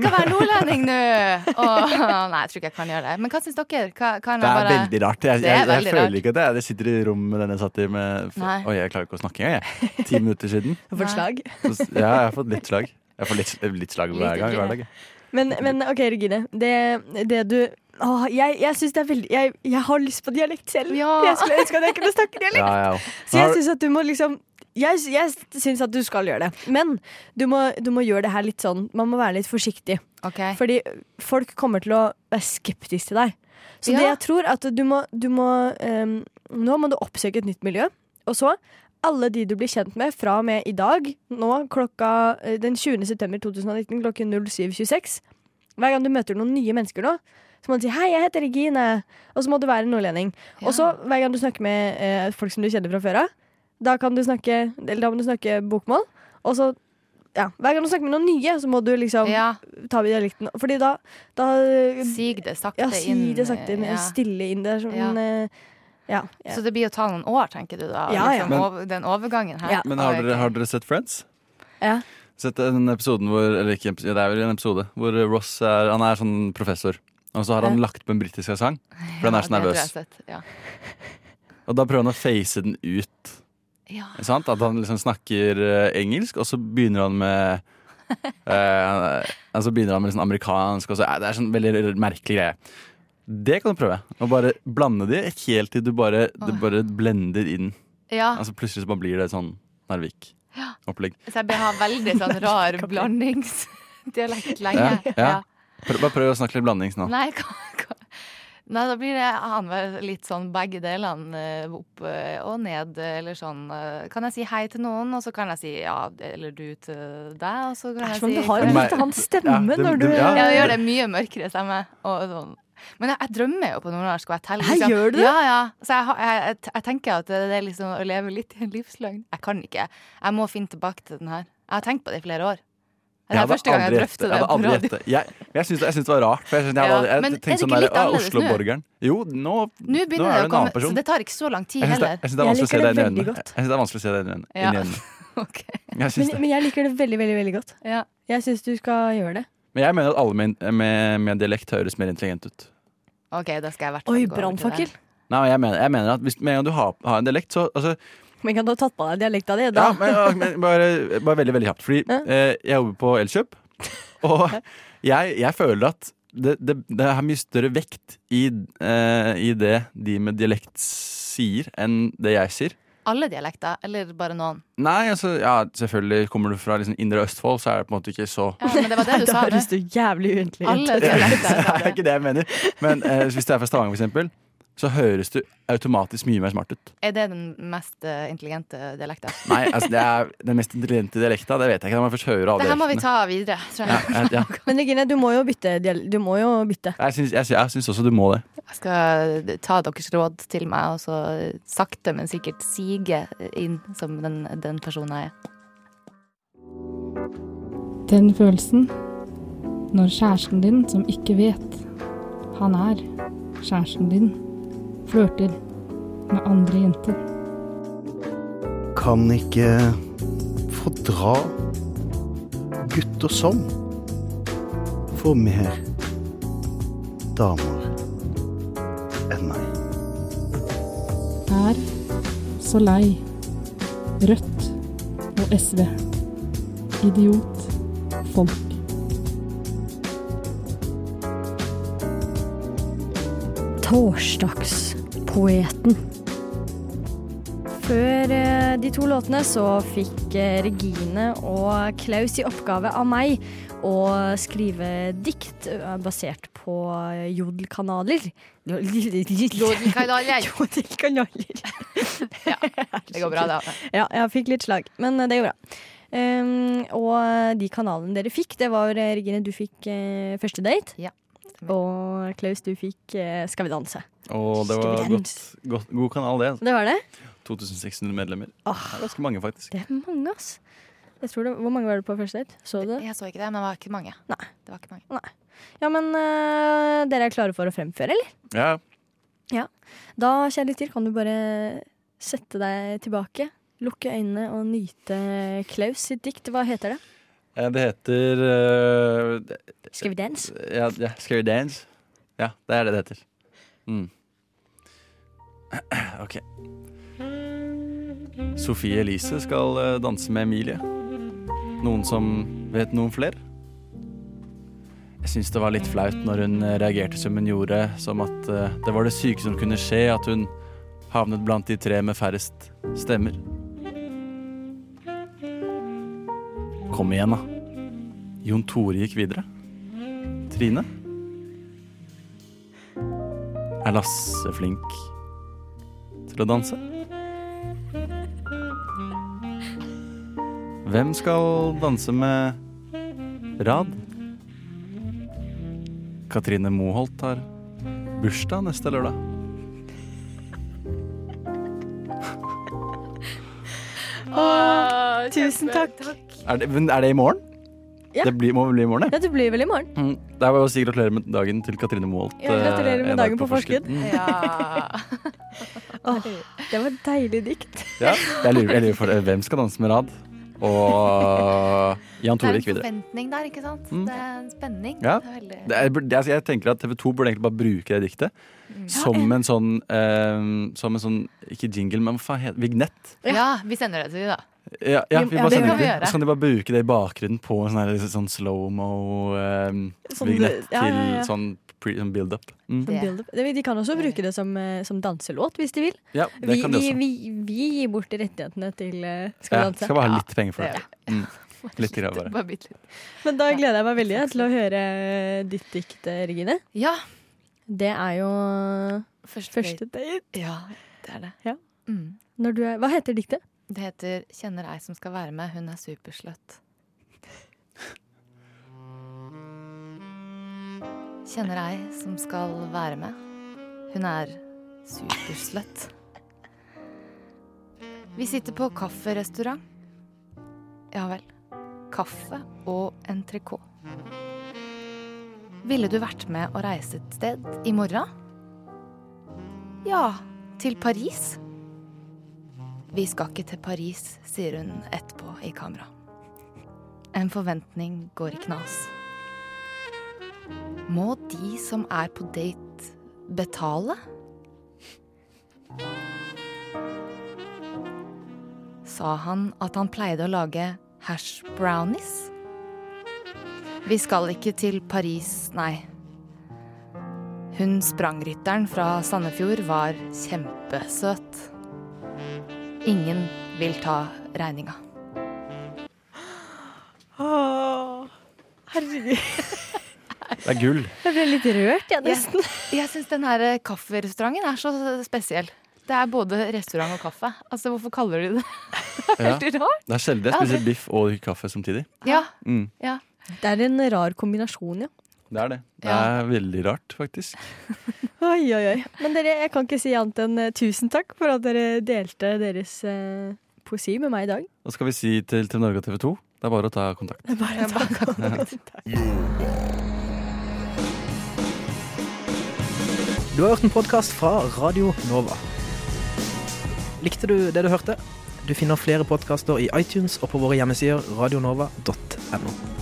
Speaker 23: Jeg skal være nordlending nå! Åh, nei, jeg tror ikke jeg kan gjøre det. Men hva syns dere? Hva, kan
Speaker 6: Det
Speaker 23: jeg
Speaker 6: er
Speaker 23: bare...
Speaker 6: veldig rart. Jeg,
Speaker 23: Det
Speaker 6: jeg,
Speaker 23: er
Speaker 6: jeg,
Speaker 23: veldig
Speaker 6: føler
Speaker 23: rart.
Speaker 6: ikke at jeg, jeg sitter i rom med den jeg satt i med for,
Speaker 23: Nei.
Speaker 6: Oi, jeg klarer ikke å snakke engang, jeg. Ti minutter siden.
Speaker 5: Jeg får et slag.
Speaker 6: Så, s- ja, jeg har fått litt slag. Jeg får litt, litt slag
Speaker 5: Litt
Speaker 6: hver gang.
Speaker 5: slag.
Speaker 6: Hver dag. jeg.
Speaker 5: Men, men OK, Regine. Det, det du Åh, jeg, jeg synes det er veldig jeg, jeg har lyst på dialekt selv. Jeg skulle ønske at jeg kunne snakke dialekt.
Speaker 6: Ja, ja.
Speaker 5: Så jeg
Speaker 6: Har-
Speaker 5: syns at du må liksom jeg, jeg syns at du skal gjøre det, men du må, du må gjøre det her litt sånn Man må være litt forsiktig. Fordi folk kommer til å være skeptiske til deg. Så
Speaker 23: Ja.
Speaker 5: det jeg tror at du må, du må ehm, Nå må du oppsøke et nytt miljø. Og så alle de du blir kjent med fra og med i dag, nå klokka eh, den 20. september 2019 klokken 07.26. Hver gang du møter noen nye mennesker nå, så må du si 'hei, jeg heter Regine', og så må du være nordlending. Og så hver gang du snakker med eh, folk som du kjenner fra før av, da kan du snakke Eller da må du snakke bokmål. Og så ja, Hver gang du snakker med noen nye, så må du liksom ta med dialekten. Fordi da, da
Speaker 23: Sig det sakte
Speaker 5: ja, sig
Speaker 23: inn,
Speaker 5: det sakte inn.
Speaker 23: ja.
Speaker 5: Stille inn. Det er sånn
Speaker 23: Ja.
Speaker 5: eh, ja.
Speaker 23: Så det blir å ta noen år, tenker du da?
Speaker 5: Ja, ja.
Speaker 23: Liksom,
Speaker 6: Men-
Speaker 23: over, den overgangen her.
Speaker 6: Men har dere, har dere sett Friends?
Speaker 5: Ja.
Speaker 6: Sett den episoden hvor Eller ikke, episode, det er vel en episode hvor Ross er, han er sånn professor. Og så har han
Speaker 23: Ja.
Speaker 6: lagt på en britisk sang, for han er så
Speaker 23: Ja, det tror jeg
Speaker 6: nervøs.
Speaker 23: jeg har sett, Ja.
Speaker 6: Og da prøver han å face den ut.
Speaker 23: Ja.
Speaker 6: Ikke Sant? At han liksom snakker eh, engelsk, og så begynner han med eh, Altså begynner han med liksom amerikansk. Og så, eh, det er sånn veldig merkelig greie. Det kan du prøve. Å bare blande de helt til du bare, det
Speaker 23: Åh.
Speaker 6: bare blender inn.
Speaker 23: Ja.
Speaker 6: Altså Plutselig så bare blir det sånn
Speaker 23: Ja.
Speaker 6: Narvik-opplegg.
Speaker 23: Så jeg bør ha veldig sånn rar blandingsdialekt lenge.
Speaker 6: Ja, ja. Prøv, bare prøv å snakke litt blandings nå.
Speaker 23: Nei, hva, hva? Nei, da blir det annenhver litt sånn begge delene eh, opp eh, og ned, eh, eller sånn eh, Kan jeg si hei til noen, og så kan jeg si ja eller du til deg, og så kan
Speaker 5: Det er
Speaker 23: jeg
Speaker 5: som om
Speaker 23: si
Speaker 5: du har en litt annen stemme
Speaker 23: Ja, det-
Speaker 5: når du
Speaker 23: det- ja. Ja, jeg gjør det mye mørkere stemme. Og, sånn. men jeg, jeg drømmer jo på nordnorsk, og jeg teller. liksom-
Speaker 5: Hæ, gjør du det?
Speaker 23: Ja, ja. Så jeg, har- jeg, jeg, jeg tenker at det er liksom å leve litt i en livsløgn. Jeg kan ikke. Jeg må finne tilbake til den her. Jeg har tenkt på det i flere år. Det er
Speaker 6: hadde
Speaker 23: første gang jeg
Speaker 6: aldri
Speaker 23: drøfter
Speaker 6: gjettet-
Speaker 23: det
Speaker 6: Jeg hadde
Speaker 23: på
Speaker 6: aldri
Speaker 23: radio.
Speaker 6: gjettet. Jeg, jeg syns det, jeg syns det var rart. For jeg, synes jeg, hadde,
Speaker 23: Ja,
Speaker 6: aldri- jeg
Speaker 23: men er det
Speaker 6: tenkte sånn
Speaker 23: ikke litt
Speaker 6: der, «Å,
Speaker 23: annerledes nå?»
Speaker 6: Oslo-borgeren. Jo, nå,
Speaker 23: Nå
Speaker 6: nå
Speaker 23: begynner
Speaker 6: er
Speaker 23: det
Speaker 6: du
Speaker 23: å
Speaker 6: en
Speaker 12: komme,
Speaker 6: annen person.
Speaker 23: Så det tar ikke så lang tid
Speaker 6: Jeg syns det,
Speaker 23: heller.
Speaker 6: jeg synes det er vanskelig å se deg inn i
Speaker 5: veldig
Speaker 6: øynene. Jeg synes det er vanskelig å se deg inn i øynene.
Speaker 23: Ja.
Speaker 6: Inn i øynene. Jeg
Speaker 5: men,
Speaker 6: syns det.
Speaker 5: men jeg liker det veldig, veldig veldig godt. Jeg syns du skal gjøre det.
Speaker 6: Men jeg mener at alle med, med, med dialekt høres mer intelligent ut.
Speaker 23: OK, da skal jeg i hvert fall gå over til
Speaker 5: Oi,
Speaker 23: det.
Speaker 5: brannfakkel.
Speaker 6: Nei, jeg mener, jeg mener at hvis, Med en gang du har, har en dialekt, så altså,
Speaker 5: Men kan du ha tatt på deg dialekta di?
Speaker 6: Ja,
Speaker 5: da?
Speaker 6: men, ja, men bare, bare veldig, veldig kjapt. Fordi eh, jeg jobber på Elkjøp, og jeg, jeg føler at det, det, det har mye større vekt i, eh, i det de med dialekt sier, enn det jeg sier.
Speaker 23: Alle dialekter, eller bare noen?
Speaker 6: Nei, altså, ja, selvfølgelig kommer du fra liksom, indre Østfold, så er det på en måte ikke så
Speaker 23: Ja, men det var det du
Speaker 5: Da
Speaker 23: sa.
Speaker 5: høres
Speaker 23: Det.
Speaker 5: du jævlig uintelligent
Speaker 23: Alle
Speaker 5: ut.
Speaker 23: dialekter.
Speaker 6: Det er ikke det jeg mener. Men eh, hvis du er fra Stavanger, for eksempel, så høres du automatisk mye mer smart ut.
Speaker 23: Er det den mest eh, intelligente dialekten?
Speaker 6: Nei, altså, det er den mest intelligente dialekta, det vet jeg ikke. Da må jeg først høre alle
Speaker 23: Det her må vi
Speaker 6: dialektene.
Speaker 23: ta videre,
Speaker 6: Ja,
Speaker 23: tror jeg.
Speaker 6: jeg, ja.
Speaker 5: Men Regine, du må jo bytte. dial- Du må jo bytte.
Speaker 6: Jeg, syns, jeg, syns- jeg syns også du må det.
Speaker 23: Jeg skal ta deres råd til meg, og så sakte, men sikkert sige inn som den, den personen jeg er.
Speaker 2: Den følelsen når kjæresten din, som ikke vet han er kjæresten din, flørter med andre jenter.
Speaker 1: Kan ikke fordra gutter som får mer damer enn meg.
Speaker 2: Er så lei Rødt og SV. Idiot folk.
Speaker 5: Torsdagspoeten. Før eh, de to låtene så fikk eh, Regine og Klaus i oppgave av meg å skrive dikt eh, basert på eh, jodelkanaler.
Speaker 23: Jodelkanaler.
Speaker 5: Jodelkanaler.
Speaker 23: Det går bra, det.
Speaker 5: Ja, jeg fikk litt slag, men eh, det går bra. Ehm, og de kanalene dere fikk, det var eh, Regine, du fikk eh, første date. Og Klaus, du fikk eh, Skal vi danse.
Speaker 6: Og det var
Speaker 5: Student.
Speaker 6: godt, godt, god kanal, det. altså.
Speaker 5: Det var det?
Speaker 6: 2600 medlemmer.
Speaker 5: Åh.
Speaker 6: Det er ganske mange, faktisk.
Speaker 5: Det er mange, ass. Jeg tror det, hvor mange var det på første date? Så du det?
Speaker 23: Jeg så ikke det, men det var ikke mange.
Speaker 5: Nei.
Speaker 23: Det var ikke mange.
Speaker 5: Ja, men eh, dere er klare for å fremføre, eller?
Speaker 6: Ja.
Speaker 5: Ja. Da, kjære lytter, kan du bare sette deg tilbake, lukke øynene og nyte Klaus sitt dikt. Hva heter det?
Speaker 6: Eh, Det heter eh, det-
Speaker 5: Skal vi danse?
Speaker 6: Ja, ja, Skal vi dance? Ja, det er det det heter. Mm. OK. Sofie Elise skal eh, danse med Emilie. Noen som vet noen flere? Jeg syns det var litt flaut når hun eh, reagerte som hun gjorde, som at eh, det var det syke som kunne skje, at hun havnet blant de tre med færrest stemmer. Kom igjen, da. Jon Tore gikk videre. Trine? Er Lasse flink til å danse? Hvem skal danse med Rad? Katrine Moholt har bursdag neste lørdag.
Speaker 5: Åh, tusen takk.
Speaker 6: Er det, men er det i morgen?
Speaker 5: Ja.
Speaker 6: Det blir, må vel bli i morgen, det?
Speaker 5: Ja, det blir vel i morgen.
Speaker 6: Mm. Det er bare å si gratulerer med dagen til Katrine Moholt.
Speaker 5: Ja, gratulerer
Speaker 6: eh, en
Speaker 5: med
Speaker 6: dag
Speaker 5: dagen på forskudd.
Speaker 6: Mm.
Speaker 5: Åh, det var et deilig dikt.
Speaker 6: Ja, jeg lurer, jeg lurer for det. Hvem skal danse med Rad? Og Jan
Speaker 23: Det er
Speaker 6: Tore
Speaker 23: en
Speaker 6: gikk videre.
Speaker 23: forventning der, ikke sant?
Speaker 6: Mm.
Speaker 23: Det er en spenning.
Speaker 6: Ja.
Speaker 23: Det er veldig...
Speaker 6: Det er, det er, jeg tenker at TV 2 burde egentlig bare bruke det diktet
Speaker 23: Mm.
Speaker 6: som en sånn eh, Som en sånn, ikke jingle, men hva faen heter Vignett.
Speaker 23: ja, vi sender det til dem, da.
Speaker 6: Ja, ja, vi bare
Speaker 23: Ja, det
Speaker 6: sender
Speaker 23: kan vi
Speaker 6: det.
Speaker 23: gjøre.
Speaker 6: Så kan de bare bruke det i bakgrunnen på en sånn, her- sånn
Speaker 5: Sånn-
Speaker 6: slow-mo-vignett
Speaker 5: ja, ja, ja.
Speaker 6: til sånn, pre- sånn build-up. Mm.
Speaker 5: Som build-up. De de kan også bruke det som, eh, som danselåt, hvis de vil.
Speaker 6: Ja, det
Speaker 5: vi,
Speaker 6: kan de
Speaker 5: vi,
Speaker 6: også.
Speaker 5: vi, vi gir bort rettighetene til eh, Skal vi
Speaker 6: Ja,
Speaker 5: danse.
Speaker 6: skal bare ha litt penger for det.
Speaker 5: Ja.
Speaker 6: Mm. Litt grann bare.
Speaker 5: Men da gleder jeg meg veldig eh, til å høre ditt dikt, eh, Regine.
Speaker 23: Ja.
Speaker 5: Det er jo eh,
Speaker 23: Første
Speaker 5: date.
Speaker 23: Ja, det er det.
Speaker 5: Ja.
Speaker 23: Mm.
Speaker 5: Når du er, hva heter diktet?
Speaker 23: Det heter 'Kjenner ei som skal være med, hun er superslutt'. Kjenner ei som skal være med, hun er superslutt. Vi sitter på kafferestaurant. Ja vel. Kaffe og entrecôte. Ville du vært med og reise et sted i morgen? Ja, til Paris. Vi skal ikke til Paris, sier hun etterpå i kamera. En forventning går i knas. Må de som er på date, betale? Sa han at han pleide å lage hash brownies? Vi skal ikke til Paris, nei. Hun sprangrytteren fra Sandefjord var kjempesøt. Ingen vil ta regninga.
Speaker 5: Herregud.
Speaker 6: Det er gull.
Speaker 5: Jeg ble litt rørt, jeg, nesten.
Speaker 23: Jeg, jeg syns den her eh, kafferestauranten er så spesiell. Det er både restaurant og kaffe. Altså, Hvorfor kaller de det
Speaker 6: Ja.
Speaker 23: det? er Veldig rart.
Speaker 6: Det er sjelden jeg spiser biff og drikker kaffe samtidig.
Speaker 23: Ja.
Speaker 6: Mm.
Speaker 23: ja.
Speaker 5: Det er en rar kombinasjon, ja.
Speaker 6: Det er det. Det
Speaker 5: Ja.
Speaker 6: er veldig rart, faktisk.
Speaker 5: Oi, oi, oi. Men dere, jeg kan ikke si annet enn eh, tusen takk for at dere delte deres eh, poesi med meg i dag.
Speaker 6: Da skal vi si til TV Norge og TV 2 Det er bare å ta kontakt.
Speaker 5: Det er bare å ta kontakt.
Speaker 13: Du har hørt en podkast fra Radio Nova. Likte du det du hørte? Du finner flere podkaster i iTunes og på våre hjemmesider radionova.no.